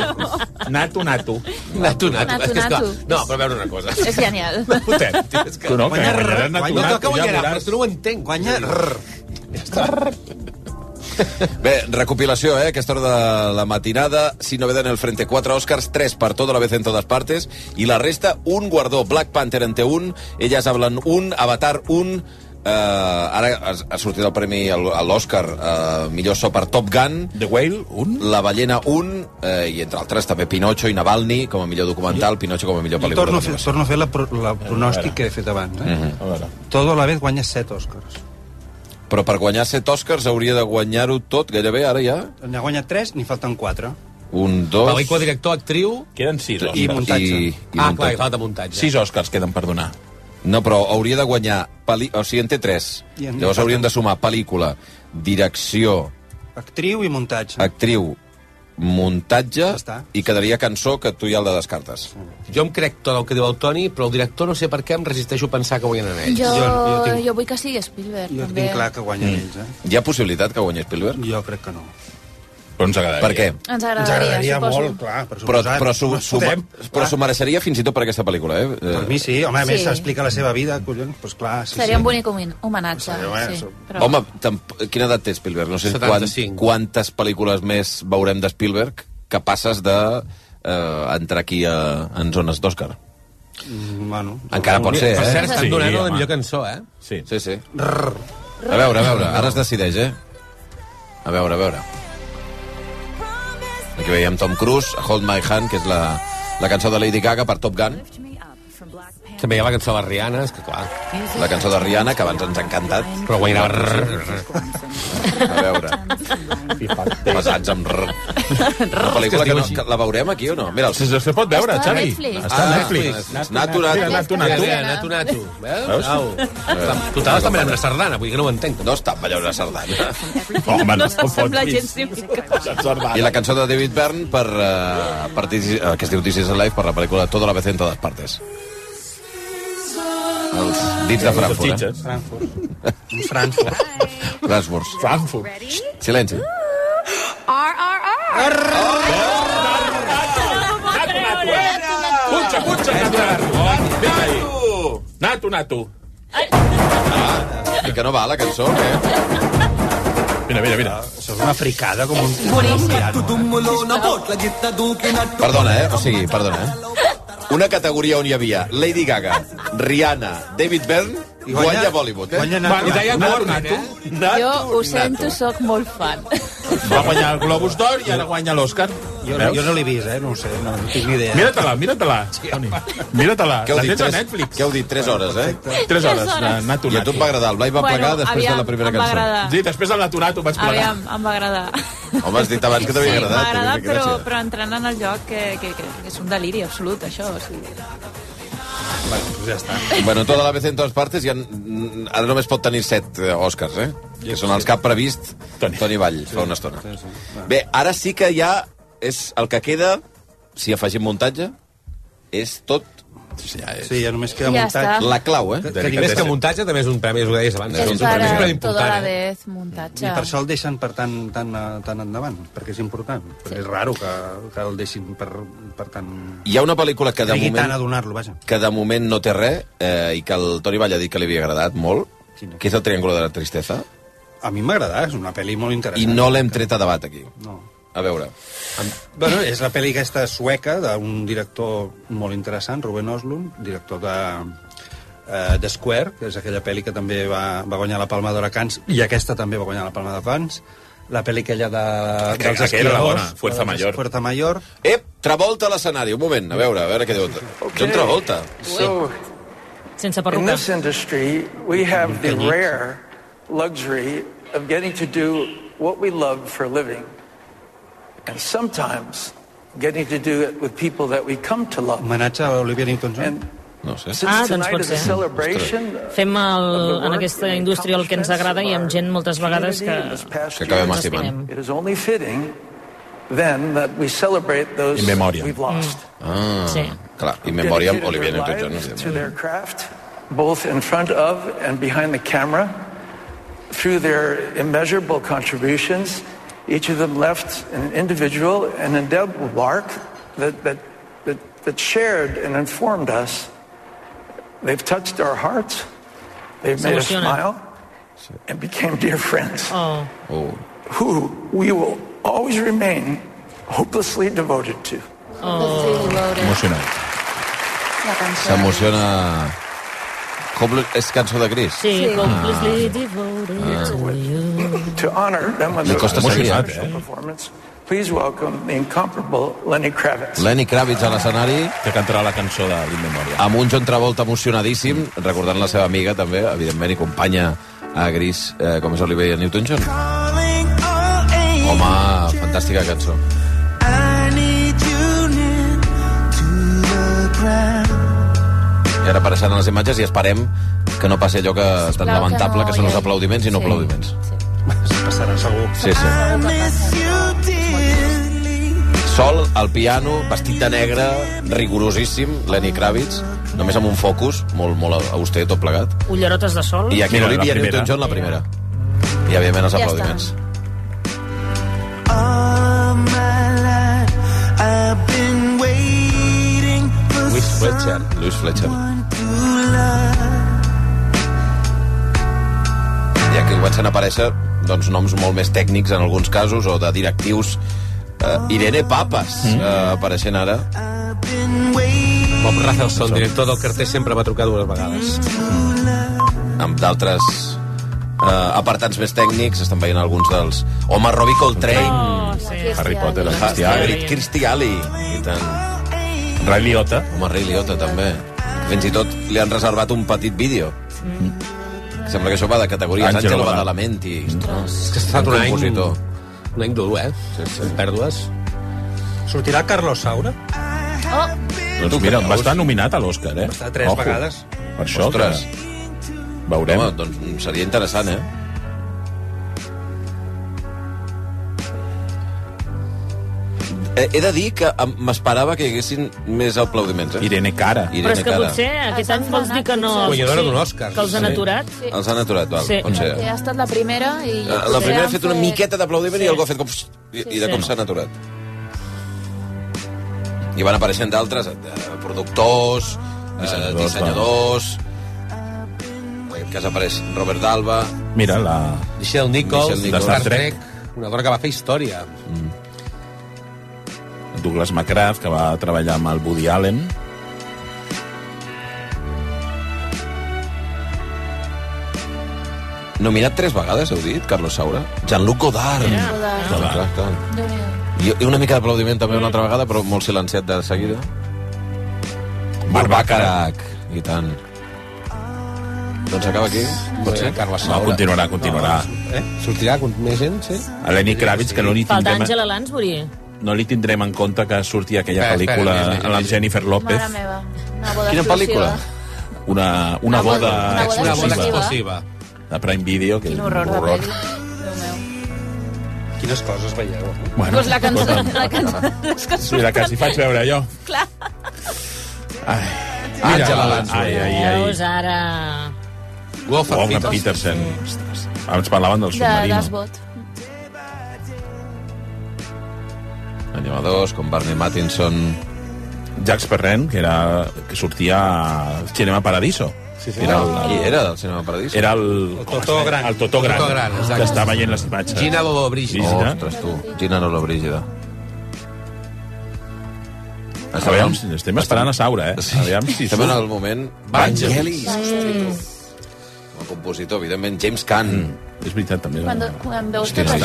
Speaker 4: Nato, nato.
Speaker 2: Nato, nato.
Speaker 12: Nato,
Speaker 2: És que, esclar,
Speaker 12: nato.
Speaker 2: No, però a veure una cosa.
Speaker 12: És genial.
Speaker 2: Fotem, tio, és que...
Speaker 4: Tu no, que guanyarà nato,
Speaker 5: guanya-
Speaker 4: nato.
Speaker 2: que
Speaker 4: ja
Speaker 2: guanyarà, però
Speaker 4: veuràs.
Speaker 2: tu no ho entenc.
Speaker 5: Guanya... Rrr.
Speaker 1: Bé, recopilació, eh? Aquesta hora de la matinada. Si no veden el Frente 4 Oscars, 3 per tota la vez en totes partes. I la resta, un guardó. Black Panther en té un, Elles hablen un, Avatar un... Eh, ara ha- ha sortit el premi al- a l'Oscar eh, millor so per Top Gun
Speaker 4: The Whale, un.
Speaker 1: La ballena 1 eh, i entre altres també Pinocho i Navalny com a millor documental, Pinocho com a Mm-hmm. millor pel·lícula
Speaker 5: Torno a fer,
Speaker 1: d'animació.
Speaker 5: torno a fer la, pro- la pronòstic que he fet abans. Eh?
Speaker 4: A veure.
Speaker 5: Todo a la vez guanya 7 Oscars.
Speaker 1: però per guanyar 7 Oscars hauria de guanyar-ho tot gairebé ara ja
Speaker 5: N'ha guanyat 3, n'hi falten 4.
Speaker 1: un, dos
Speaker 2: Pel·lícula, director, actriu...
Speaker 4: Queden sis
Speaker 1: i,
Speaker 4: Oscars.
Speaker 1: i, i, i
Speaker 2: Ah, clar,
Speaker 1: muntatge.
Speaker 2: i falta muntatge.
Speaker 4: Sis Oscars queden per donar.
Speaker 1: No, però hauria de guanyar... Peli... O sigui, en té tres.
Speaker 5: I en-
Speaker 1: Llavors hauríem de sumar pel·lícula, direcció,
Speaker 5: Actriu i muntatge.
Speaker 1: actriu, muntatge,
Speaker 5: Ja està.
Speaker 1: i quedaria cançó, que tu ja el de descartes.
Speaker 2: Jo em crec tot el que diu el Toni, però el director no sé per què em resisteixo a pensar que guanyen en ell.
Speaker 12: Jo, jo,
Speaker 5: jo tinc-
Speaker 12: jo vull que sigui Spielberg,
Speaker 5: Jo
Speaker 12: també.
Speaker 5: tinc clar que guanyen
Speaker 1: Mm.
Speaker 5: ells, eh?
Speaker 1: Hi ha possibilitat que guanyi Spielberg?
Speaker 5: Jo crec que no.
Speaker 4: Però ens agradaria.
Speaker 1: Per què?
Speaker 12: Ens agradaria,
Speaker 5: Ens agradaria
Speaker 12: suposo.
Speaker 5: molt, clar, per
Speaker 1: Però,
Speaker 5: suposat.
Speaker 1: però, su,
Speaker 5: No
Speaker 1: su,
Speaker 5: podem,
Speaker 9: Ah.
Speaker 1: però
Speaker 5: clar.
Speaker 1: s'ho mereixeria fins i tot per aquesta pel·lícula, eh?
Speaker 5: Per mi sí, home, a més
Speaker 12: Sí.
Speaker 5: s'explica la seva vida, collons, doncs clar, sí,
Speaker 12: Seria
Speaker 5: sí.
Speaker 12: un bonic homin- homenatge.
Speaker 5: Seria, bueno,
Speaker 12: sí,
Speaker 5: so-
Speaker 1: Però... Home, tamp... quina edat té Spielberg? No sé quan,
Speaker 2: 75.
Speaker 1: quantes pel·lícules més veurem de Spielberg que passes de eh, entrar aquí a, en zones d'Òscar.
Speaker 5: Mm, Bueno,
Speaker 1: Encara pot ser,
Speaker 2: Per
Speaker 1: eh?
Speaker 2: cert, estan
Speaker 4: Sí,
Speaker 2: donant
Speaker 4: home.
Speaker 2: la millor cançó, eh?
Speaker 4: Sí.
Speaker 1: Sí, sí. A veure, a veure, ara es decideix, eh? A veure, a veure. Aquí veiem Tom Cruise, Hold My Hand, que és la, la cançó de Lady Gaga per Top Gun,
Speaker 2: També hi ha la cançó de les Rianes, que clar...
Speaker 1: la cançó de Rihanna, que abans ens ha encantat.
Speaker 2: Però guanyarà...
Speaker 1: A veure. Fíjate. Pesats amb... r- Una pel·lícula que, no, que la veurem aquí o no? Mira, el...
Speaker 4: Sí, es pot veure, Està a Xavi. Netflix. Està a
Speaker 1: Ah,
Speaker 4: Netflix.
Speaker 1: Nato, nato.
Speaker 4: Nato, nato.
Speaker 2: Nato, nato.
Speaker 1: Veus?
Speaker 2: Veus? Au. Total, està ballant una sardana, vull dir que no ho entenc.
Speaker 1: No està ballant una sardana.
Speaker 4: Home,
Speaker 8: no
Speaker 4: no
Speaker 8: s'assembla
Speaker 4: fotis.
Speaker 8: gens ni mica.
Speaker 1: I la cançó de David Byrne per, uh, per This is- eh, que es diu This is Life per la pel·lícula Toda la vez en todas partes. Els dits de Frankfurt, eh?
Speaker 5: Frankfurt. Un Frankfurt.
Speaker 1: Frankfurt.
Speaker 4: Frankfurt.
Speaker 1: Silenci.
Speaker 4: Punxa, punxa, nato. Nato, nato.
Speaker 1: I que no va la cançó, eh?
Speaker 4: Mira, mira, mira.
Speaker 5: Això és una fricada com un...
Speaker 1: Perdona, eh? O sigui, perdona, eh? Una categoria on hi havia Lady Gaga, Rihanna, David Byrne,
Speaker 5: I
Speaker 1: guanya,
Speaker 5: guanya-
Speaker 1: Bollywood, eh?
Speaker 5: guanya Nato.
Speaker 1: Va, i deia
Speaker 4: Nato,
Speaker 1: Gorman,
Speaker 4: nato.
Speaker 1: eh?
Speaker 12: Jo ho sento, sóc molt fan.
Speaker 4: Va guanyar el Globus d'Or i ara guanya l'Oscar.
Speaker 5: Jo,
Speaker 4: Veus?
Speaker 5: jo no l'he vist, eh? No ho sé, no, no tinc ni idea.
Speaker 4: Mira-te-la, mira-te-la, Toni. Mira-te-la.
Speaker 1: Què heu
Speaker 4: La
Speaker 1: dit?
Speaker 4: tens a
Speaker 1: Tres-
Speaker 4: Netflix.
Speaker 1: Què heu dit? 3 hores, eh?
Speaker 4: Tres hores,
Speaker 12: hores.
Speaker 4: de Nato
Speaker 1: I a tu et va agradar, el Blai va
Speaker 12: Bueno,
Speaker 1: plegar després de
Speaker 12: aviam,
Speaker 1: la primera
Speaker 12: em va
Speaker 1: cançó.
Speaker 12: agradar.
Speaker 4: Ah. Sí, després del Naturato vaig plegar.
Speaker 12: Aviam, em va agradar.
Speaker 1: Home, has dit abans que t'havia
Speaker 12: sí,
Speaker 1: agradat.
Speaker 12: m'ha agradat,
Speaker 1: que gràcia.
Speaker 12: però, però entrant en el lloc que, que, que, que és un deliri absolut, això. O sigui.
Speaker 5: Bueno, doncs ja està.
Speaker 1: Bueno, tota la vez en totes partes ja, mm, ara només pot tenir set eh, Oscars, eh? Que són els que ha previst Toni, Toni Vall fa una estona. Bé, ara sí que ja és el que queda, si afegim muntatge, és tot
Speaker 4: Ja és.
Speaker 5: Sí, ja només queda
Speaker 12: Ja
Speaker 5: muntatge.
Speaker 12: està.
Speaker 1: la clau, eh?
Speaker 5: Que-
Speaker 2: I més que muntatge també és un premi, us ho deies abans.
Speaker 12: És
Speaker 2: un
Speaker 12: per
Speaker 2: premi,
Speaker 12: a
Speaker 2: premi
Speaker 12: tota
Speaker 2: important,
Speaker 12: la
Speaker 2: eh?
Speaker 12: vez
Speaker 5: I
Speaker 12: muntatge.
Speaker 5: per això el deixen per tant, tan, eh, tan endavant, perquè és important. Perquè és raro que, que el deixin per, per tant...
Speaker 1: Hi ha una pel·lícula que de
Speaker 5: Trigui tant a
Speaker 1: moment,
Speaker 5: donar-lo, vaja.
Speaker 1: que de moment no té res eh, i que el Toni Vall ha dit que li havia agradat molt,
Speaker 5: Quina?
Speaker 1: que és el Triángulo de la Tristesa,
Speaker 5: A mi m'agrada, és una pel·li molt
Speaker 1: i
Speaker 5: interessant.
Speaker 1: no l'hem tret a debat aquí.
Speaker 5: No.
Speaker 1: A veure,
Speaker 5: Bueno, és la pel·li aquesta sueca d'un director molt interessant, Ruben Oslund, director de eh, The Square, que és aquella pel·li que també va, va guanyar la Palma d'Or a Cannes, i aquesta també va guanyar la Palma de Cannes, la pel·li aquella de, dels
Speaker 4: Aquella- aquella era la
Speaker 5: esquiadors,
Speaker 4: bona, Fuerza
Speaker 5: dels
Speaker 4: Mayor.
Speaker 5: Fuerza Mayor,
Speaker 1: Ep, Travolta a l'escenari, un moment, a veure, a veure què diu. John Travolta.
Speaker 18: So,
Speaker 8: Sense
Speaker 18: in
Speaker 8: perruca.
Speaker 18: this industry, we have the rare luxury of getting to do what we love for a living. And sometimes getting to do it with people that we come to love.
Speaker 5: homenatge a Olivia Newton-John.
Speaker 18: And
Speaker 1: No ho sé.
Speaker 18: since
Speaker 8: Ah, doncs
Speaker 18: tonight
Speaker 8: pot
Speaker 18: is a
Speaker 8: ser.
Speaker 18: celebration,
Speaker 8: Fem el, en aquesta indústria el que ens agrada i amb gent moltes vegades que
Speaker 1: Que acabem estimant.
Speaker 8: ens estimem.
Speaker 18: It is only fitting then that we celebrate those
Speaker 4: In memoriam.
Speaker 18: we've lost.
Speaker 1: Ah,
Speaker 8: Sí.
Speaker 1: clar, i memòria amb
Speaker 18: Dedicated
Speaker 1: Olivia
Speaker 18: their
Speaker 1: Newton-John.
Speaker 18: lives
Speaker 1: evidentment.
Speaker 18: To their craft, both in front of and behind the camera, through their immeasurable contributions, each of them left an individual and indelible mark that, that, that, that shared and informed us. They've touched our hearts, they've made us
Speaker 8: Soluciona.
Speaker 18: smile, and became dear friends
Speaker 8: Oh.
Speaker 1: Oh.
Speaker 18: who we will always remain hopelessly devoted to.
Speaker 4: Emocionant.
Speaker 1: S'emociona... Cobl és cançó de Gris.
Speaker 8: Sí, Ah. completely devoted to you.
Speaker 18: To honor them with
Speaker 1: Me
Speaker 18: their
Speaker 1: costa seguir,
Speaker 18: special
Speaker 4: eh?
Speaker 18: performance, please welcome the incomparable Lenny Kravitz.
Speaker 1: Lenny Kravitz a l'escenari
Speaker 4: Que cantarà la cançó de l'Inmemòria.
Speaker 1: amb un John Travolta emocionadíssim, recordant la seva amiga també, evidentment, i companya a Gris, eh, com és Olivia Newton-John. Home, fantàstica cançó. I ara apareixen les imatges i esperem que no passi allò que tan
Speaker 12: Sisplau,
Speaker 1: lamentable que,
Speaker 12: no,
Speaker 1: són els
Speaker 12: ja-
Speaker 1: aplaudiments i no
Speaker 12: sí,
Speaker 1: aplaudiments.
Speaker 12: Sí.
Speaker 5: Passarà segur.
Speaker 1: Sí, sí. Sol, al piano, vestit de negre, rigorosíssim, Lenny Kravitz, només amb un focus, molt, molt auster, tot plegat.
Speaker 8: Ullerotes de sol.
Speaker 1: I aquí
Speaker 4: Mira, la
Speaker 1: l'Olivia
Speaker 4: primera.
Speaker 1: Newton-John, la primera. I, òbviament, els
Speaker 12: Ja
Speaker 1: aplaudiments.
Speaker 2: Louis Fletcher.
Speaker 1: Louis Fletcher. I aquí comencen a aparèixer doncs, noms molt més tècnics, en alguns casos, o de directius. Uh, Irene Papas, mm. uh, apareixent ara.
Speaker 2: Bob Razelson, director del carter, sempre va trucar dues vegades.
Speaker 1: amb d'altres eh, apartats més tècnics, estan veient alguns dels... Home, Robbie Coltrane,
Speaker 8: Oh, sí.
Speaker 4: Harry Potter, el
Speaker 1: Kirstie
Speaker 4: Hagrid.
Speaker 1: Hagrid, Kirstie Alley, i tant.
Speaker 4: Ray Liotta.
Speaker 1: Home, Ray Liotta, també. Fins i tot li han reservat un petit vídeo. Sembla que això va de categories.
Speaker 4: Angelo
Speaker 1: Àngelo
Speaker 4: Badalamenti.
Speaker 1: Badalamenti.
Speaker 2: És que s'ha estat un any...
Speaker 1: compositor.
Speaker 2: un any dur, eh? Sí, sí. Pèrdues.
Speaker 5: Sortirà Carlos Saura?
Speaker 4: Doncs mira, va estar nominat a l'Oscar, eh? Va
Speaker 5: estar tres vegades.
Speaker 4: Per això,
Speaker 1: Ostres.
Speaker 4: que veurem.
Speaker 1: Home, doncs seria interessant, eh? Eh, He de dir que em- m'esperava que hi haguessin més aplaudiments. Eh?
Speaker 4: Irene Cara.
Speaker 8: Però és que potser aquest any vols dir que no...
Speaker 1: Guanyadora d'un Oscar.
Speaker 8: Que els han
Speaker 1: Sí.
Speaker 8: aturat.
Speaker 12: Sí.
Speaker 1: Els han aturat, val,
Speaker 8: Sí.
Speaker 1: sí. potser.
Speaker 12: Perquè ha estat la primera i...
Speaker 1: Eh, La primera ha fet una miqueta d'aplaudiment sí.
Speaker 12: Sí.
Speaker 1: i algú ha fet com... I, i de
Speaker 12: Sí.
Speaker 1: com s'han aturat. I van apareixent d'altres, eh, productors, eh,
Speaker 4: Dissenyadors,
Speaker 1: dissenyadors... En aquest cas apareix Robert Dalba...
Speaker 4: Mira, la...
Speaker 2: Michelle Nichols,
Speaker 1: Michelle Nichols.
Speaker 2: de Star Trek. Una dona que va fer història.
Speaker 4: Douglas McGrath, que va treballar amb el Woody Allen.
Speaker 1: Nominat tres vegades, heu dit, Carlos Saura. Jean-Luc Godard.
Speaker 12: Jean-Luc Godard.
Speaker 1: Clar, clar, clar. I, I una mica d'aplaudiment també una altra vegada, però molt silenciat de seguida. Barbacarac. I tant. Doncs acaba aquí, pot ser?
Speaker 2: Carles
Speaker 4: No, continuarà, continuarà.
Speaker 2: Eh? Sortirà con- més gent, sí?
Speaker 4: A Lenny Kravitz, que no li
Speaker 8: Falta
Speaker 4: tindrem,
Speaker 8: Àngela Lansbury.
Speaker 4: no li tindrem en compte que surti aquella
Speaker 2: Espera, espera,
Speaker 4: pel·lícula
Speaker 2: més, més,
Speaker 4: amb la
Speaker 2: més.
Speaker 4: Jennifer López.
Speaker 12: Mare meva. Una boda
Speaker 1: Quina
Speaker 12: exclusiva.
Speaker 1: pel·lícula?
Speaker 4: Una, una,
Speaker 12: Una boda-
Speaker 4: boda,
Speaker 12: una boda
Speaker 4: exclusiva.
Speaker 12: exclusiva.
Speaker 4: De Prime Video, que
Speaker 12: Quin
Speaker 4: és
Speaker 12: horror
Speaker 4: un
Speaker 12: de
Speaker 4: horror.
Speaker 12: pel·li. Déu meu.
Speaker 5: Quines coses veieu? eh?
Speaker 4: Bueno,
Speaker 12: Doncs la cançó...
Speaker 4: escolta'm.
Speaker 12: La cançó... Les que
Speaker 4: Sí, la que s'hi faig veure jo.
Speaker 12: Clar.
Speaker 4: Ai.
Speaker 1: Àngela
Speaker 4: Mira,
Speaker 1: Lansbury.
Speaker 4: Ai, ai, ai.
Speaker 8: Veus, ara...
Speaker 4: Wolfgang Petersen. Ostres. Abans parlaven del
Speaker 12: De
Speaker 4: submarino.
Speaker 12: Dasbot.
Speaker 1: Animadors com Barney Mattinson...
Speaker 4: Jacques Perrin, que, era, que sortia al Cinema Paradiso. Sí, sí. Era el,
Speaker 1: Qui era del Cinema Paradiso?
Speaker 4: era el,
Speaker 1: Oh. El
Speaker 4: com es deia? El Totó Gran,
Speaker 2: Totó Gran, exacte.
Speaker 4: que està veient les imatges.
Speaker 2: Gina Lollobrigida.
Speaker 4: Brígida.
Speaker 1: Ostres, tu. Gina Lollobrigida.
Speaker 4: Està bé, estem esperant a Saura, eh? Sí. Aviam si
Speaker 1: Estem en
Speaker 4: surt.
Speaker 1: el moment...
Speaker 4: Vangelis.
Speaker 12: Mm.
Speaker 1: Com a compositor, evidentment, James Caan.
Speaker 4: És veritat, també.
Speaker 12: Quan, quan veus
Speaker 1: Hòstia,
Speaker 12: tot
Speaker 1: sí.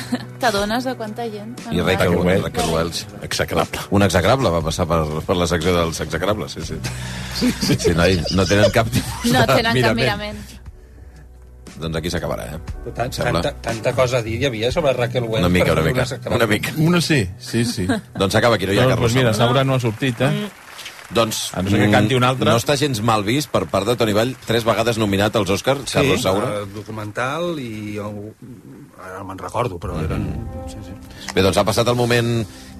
Speaker 12: això, t'adones de quanta gent...
Speaker 1: I Raquel, Welch. Raquel Welch.
Speaker 4: Execrable.
Speaker 1: Un execrable va passar per, per la secció dels execrables, sí, sí. Sí, sí, sí noi, no tenen cap tipus
Speaker 12: No
Speaker 1: de
Speaker 12: tenen cap mirament.
Speaker 1: Doncs aquí s'acabarà, eh?
Speaker 5: Tant,
Speaker 1: Sembla.
Speaker 5: tanta, tanta cosa a dir hi havia sobre Raquel Welch.
Speaker 1: Una mica,
Speaker 5: per
Speaker 1: una
Speaker 5: fer
Speaker 1: mica.
Speaker 5: secreta.
Speaker 1: Una mica.
Speaker 4: Una sí, sí, sí.
Speaker 1: Doncs acaba aquí, no hi ha
Speaker 4: Doncs,
Speaker 1: Carlos.
Speaker 4: doncs mira,
Speaker 1: Saura.
Speaker 4: Saura no ha sortit,
Speaker 12: Mm.
Speaker 4: eh?
Speaker 1: Doncs
Speaker 4: A no ser que canti un altre.
Speaker 1: No està gens mal vist per part de Toni Vall, tres vegades nominat als Oscars, sí. Carlos
Speaker 4: Ah,
Speaker 1: Saura.
Speaker 5: eh, documental i... el- Ara no me'n recordo, però eren... Sí, sí.
Speaker 1: Bé, doncs ha passat el moment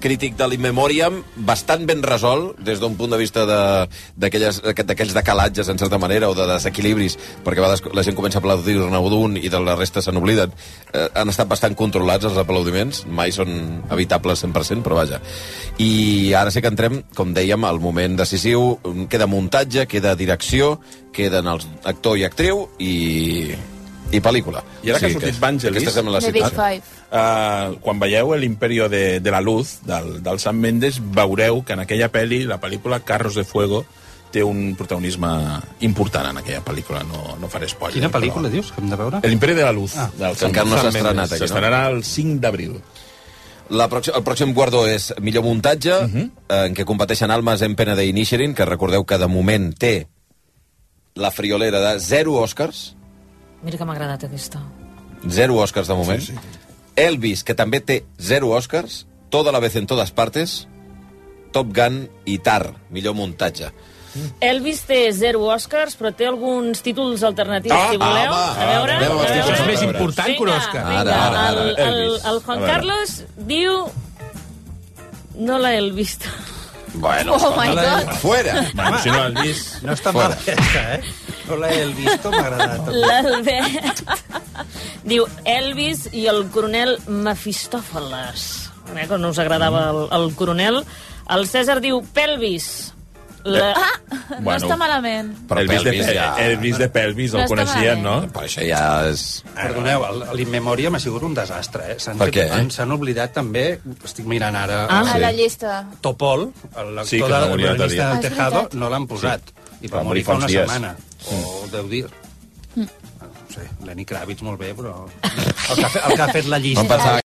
Speaker 1: crític de l'Inmemoriam, bastant ben resolt des d'un punt de vista de- d'aquelles- d'aquells decalatges, en certa manera, o de desequilibris, perquè a vegades la gent comença a aplaudir-ne d'un i de la resta se n'obliden. Eh, han estat bastant controlats els aplaudiments, mai són evitables 100%, però vaja. I ara sí que entrem, com dèiem, al moment decisiu, queda muntatge, queda direcció, queden els actor i actriu i, i pel·lícula.
Speaker 4: I ara que ha sortit Vangelis-
Speaker 1: Aquesta sembla la
Speaker 12: The Big
Speaker 1: situació.
Speaker 12: Five.
Speaker 4: Uh, quan veieu l'Imperio de, de la Luz del, del Sam Mendes, veureu que en aquella pel·li, la pel·lícula Carros de Fuego, té un protagonisme important en aquella pel·lícula, no, no faré spoiler.
Speaker 5: Quina pel·lícula dius que hem de veure?
Speaker 4: El Imperio de la Luz.
Speaker 5: Ah.
Speaker 4: del Sam-
Speaker 1: Encara no
Speaker 4: Sam
Speaker 1: s'ha estrenat
Speaker 4: Mendes.
Speaker 1: aquí, no?
Speaker 4: S'estrenarà el 5 d'abril.
Speaker 1: La pròxim, el pròxim guardó és millor muntatge, uh -huh. en què competeixen Almas en Pena de Inisherin, que recordeu que de moment té la friolera de zero Oscars,
Speaker 8: Mira que m'ha agradat aquesta.
Speaker 1: zero Oscars de moment, sí, sí. Elvis, que també té zero Oscars, Toda la vez en todas partes, Top Gun i Tar, millor muntatge.
Speaker 8: Elvis té zero Oscars, però té alguns títols alternatius,
Speaker 1: Ah,
Speaker 8: si voleu.
Speaker 1: home,
Speaker 8: a veure...
Speaker 1: anem amb els
Speaker 8: a
Speaker 1: títols.
Speaker 8: veure.
Speaker 1: Això és més
Speaker 2: important que un Òscar.
Speaker 8: Vinga,
Speaker 1: Ara, ara, ara.
Speaker 8: El, el,
Speaker 1: Elvis.
Speaker 8: el
Speaker 1: A
Speaker 8: Juan
Speaker 1: veure.
Speaker 8: Carlos diu... No la he vist.
Speaker 1: Bueno,
Speaker 12: Oh my God.
Speaker 1: Fuera!
Speaker 4: Bueno, si no l'han vist...
Speaker 5: No està
Speaker 1: Fora.
Speaker 5: mal aquesta, eh? No l'he el visto, m'ha agradat.
Speaker 8: L'Albert diu Elvis i el coronel Mefistòfeles. Eh, que no us agradava el, el coronel. El César diu Pelvis. La... Ah!
Speaker 12: No
Speaker 4: Bueno,
Speaker 12: està malament.
Speaker 1: Però
Speaker 4: Elvis,
Speaker 1: Pelvis
Speaker 4: de,
Speaker 1: ja-
Speaker 4: Elvis de Pelvis,
Speaker 12: No
Speaker 4: el
Speaker 12: està
Speaker 4: coneixien, no?
Speaker 12: malament.
Speaker 1: Però això ja és...
Speaker 5: Perdoneu, l'Inmemòria m'ha sigut un desastre, eh? S'han
Speaker 1: Per què?
Speaker 5: fet- S'han oblidat també, estic mirant ara...
Speaker 12: Ah,
Speaker 5: el
Speaker 12: a la llista.
Speaker 5: Topol,
Speaker 4: Sí, que
Speaker 5: l'actor
Speaker 4: s'ha
Speaker 5: de
Speaker 4: morit
Speaker 5: la
Speaker 4: l'altre dia.
Speaker 5: del
Speaker 12: Ah, és
Speaker 5: Tejado,
Speaker 12: veritat.
Speaker 5: no l'han posat. I
Speaker 4: Va
Speaker 5: va
Speaker 4: morir
Speaker 5: morir fa
Speaker 4: fa
Speaker 5: una
Speaker 4: uns dies.
Speaker 5: setmana, Oh, o deu dies.
Speaker 12: Mm.
Speaker 5: No sé, Lenny Kravitz molt bé, però... El que ha, fe- el que ha fet la llista...
Speaker 1: Em pensava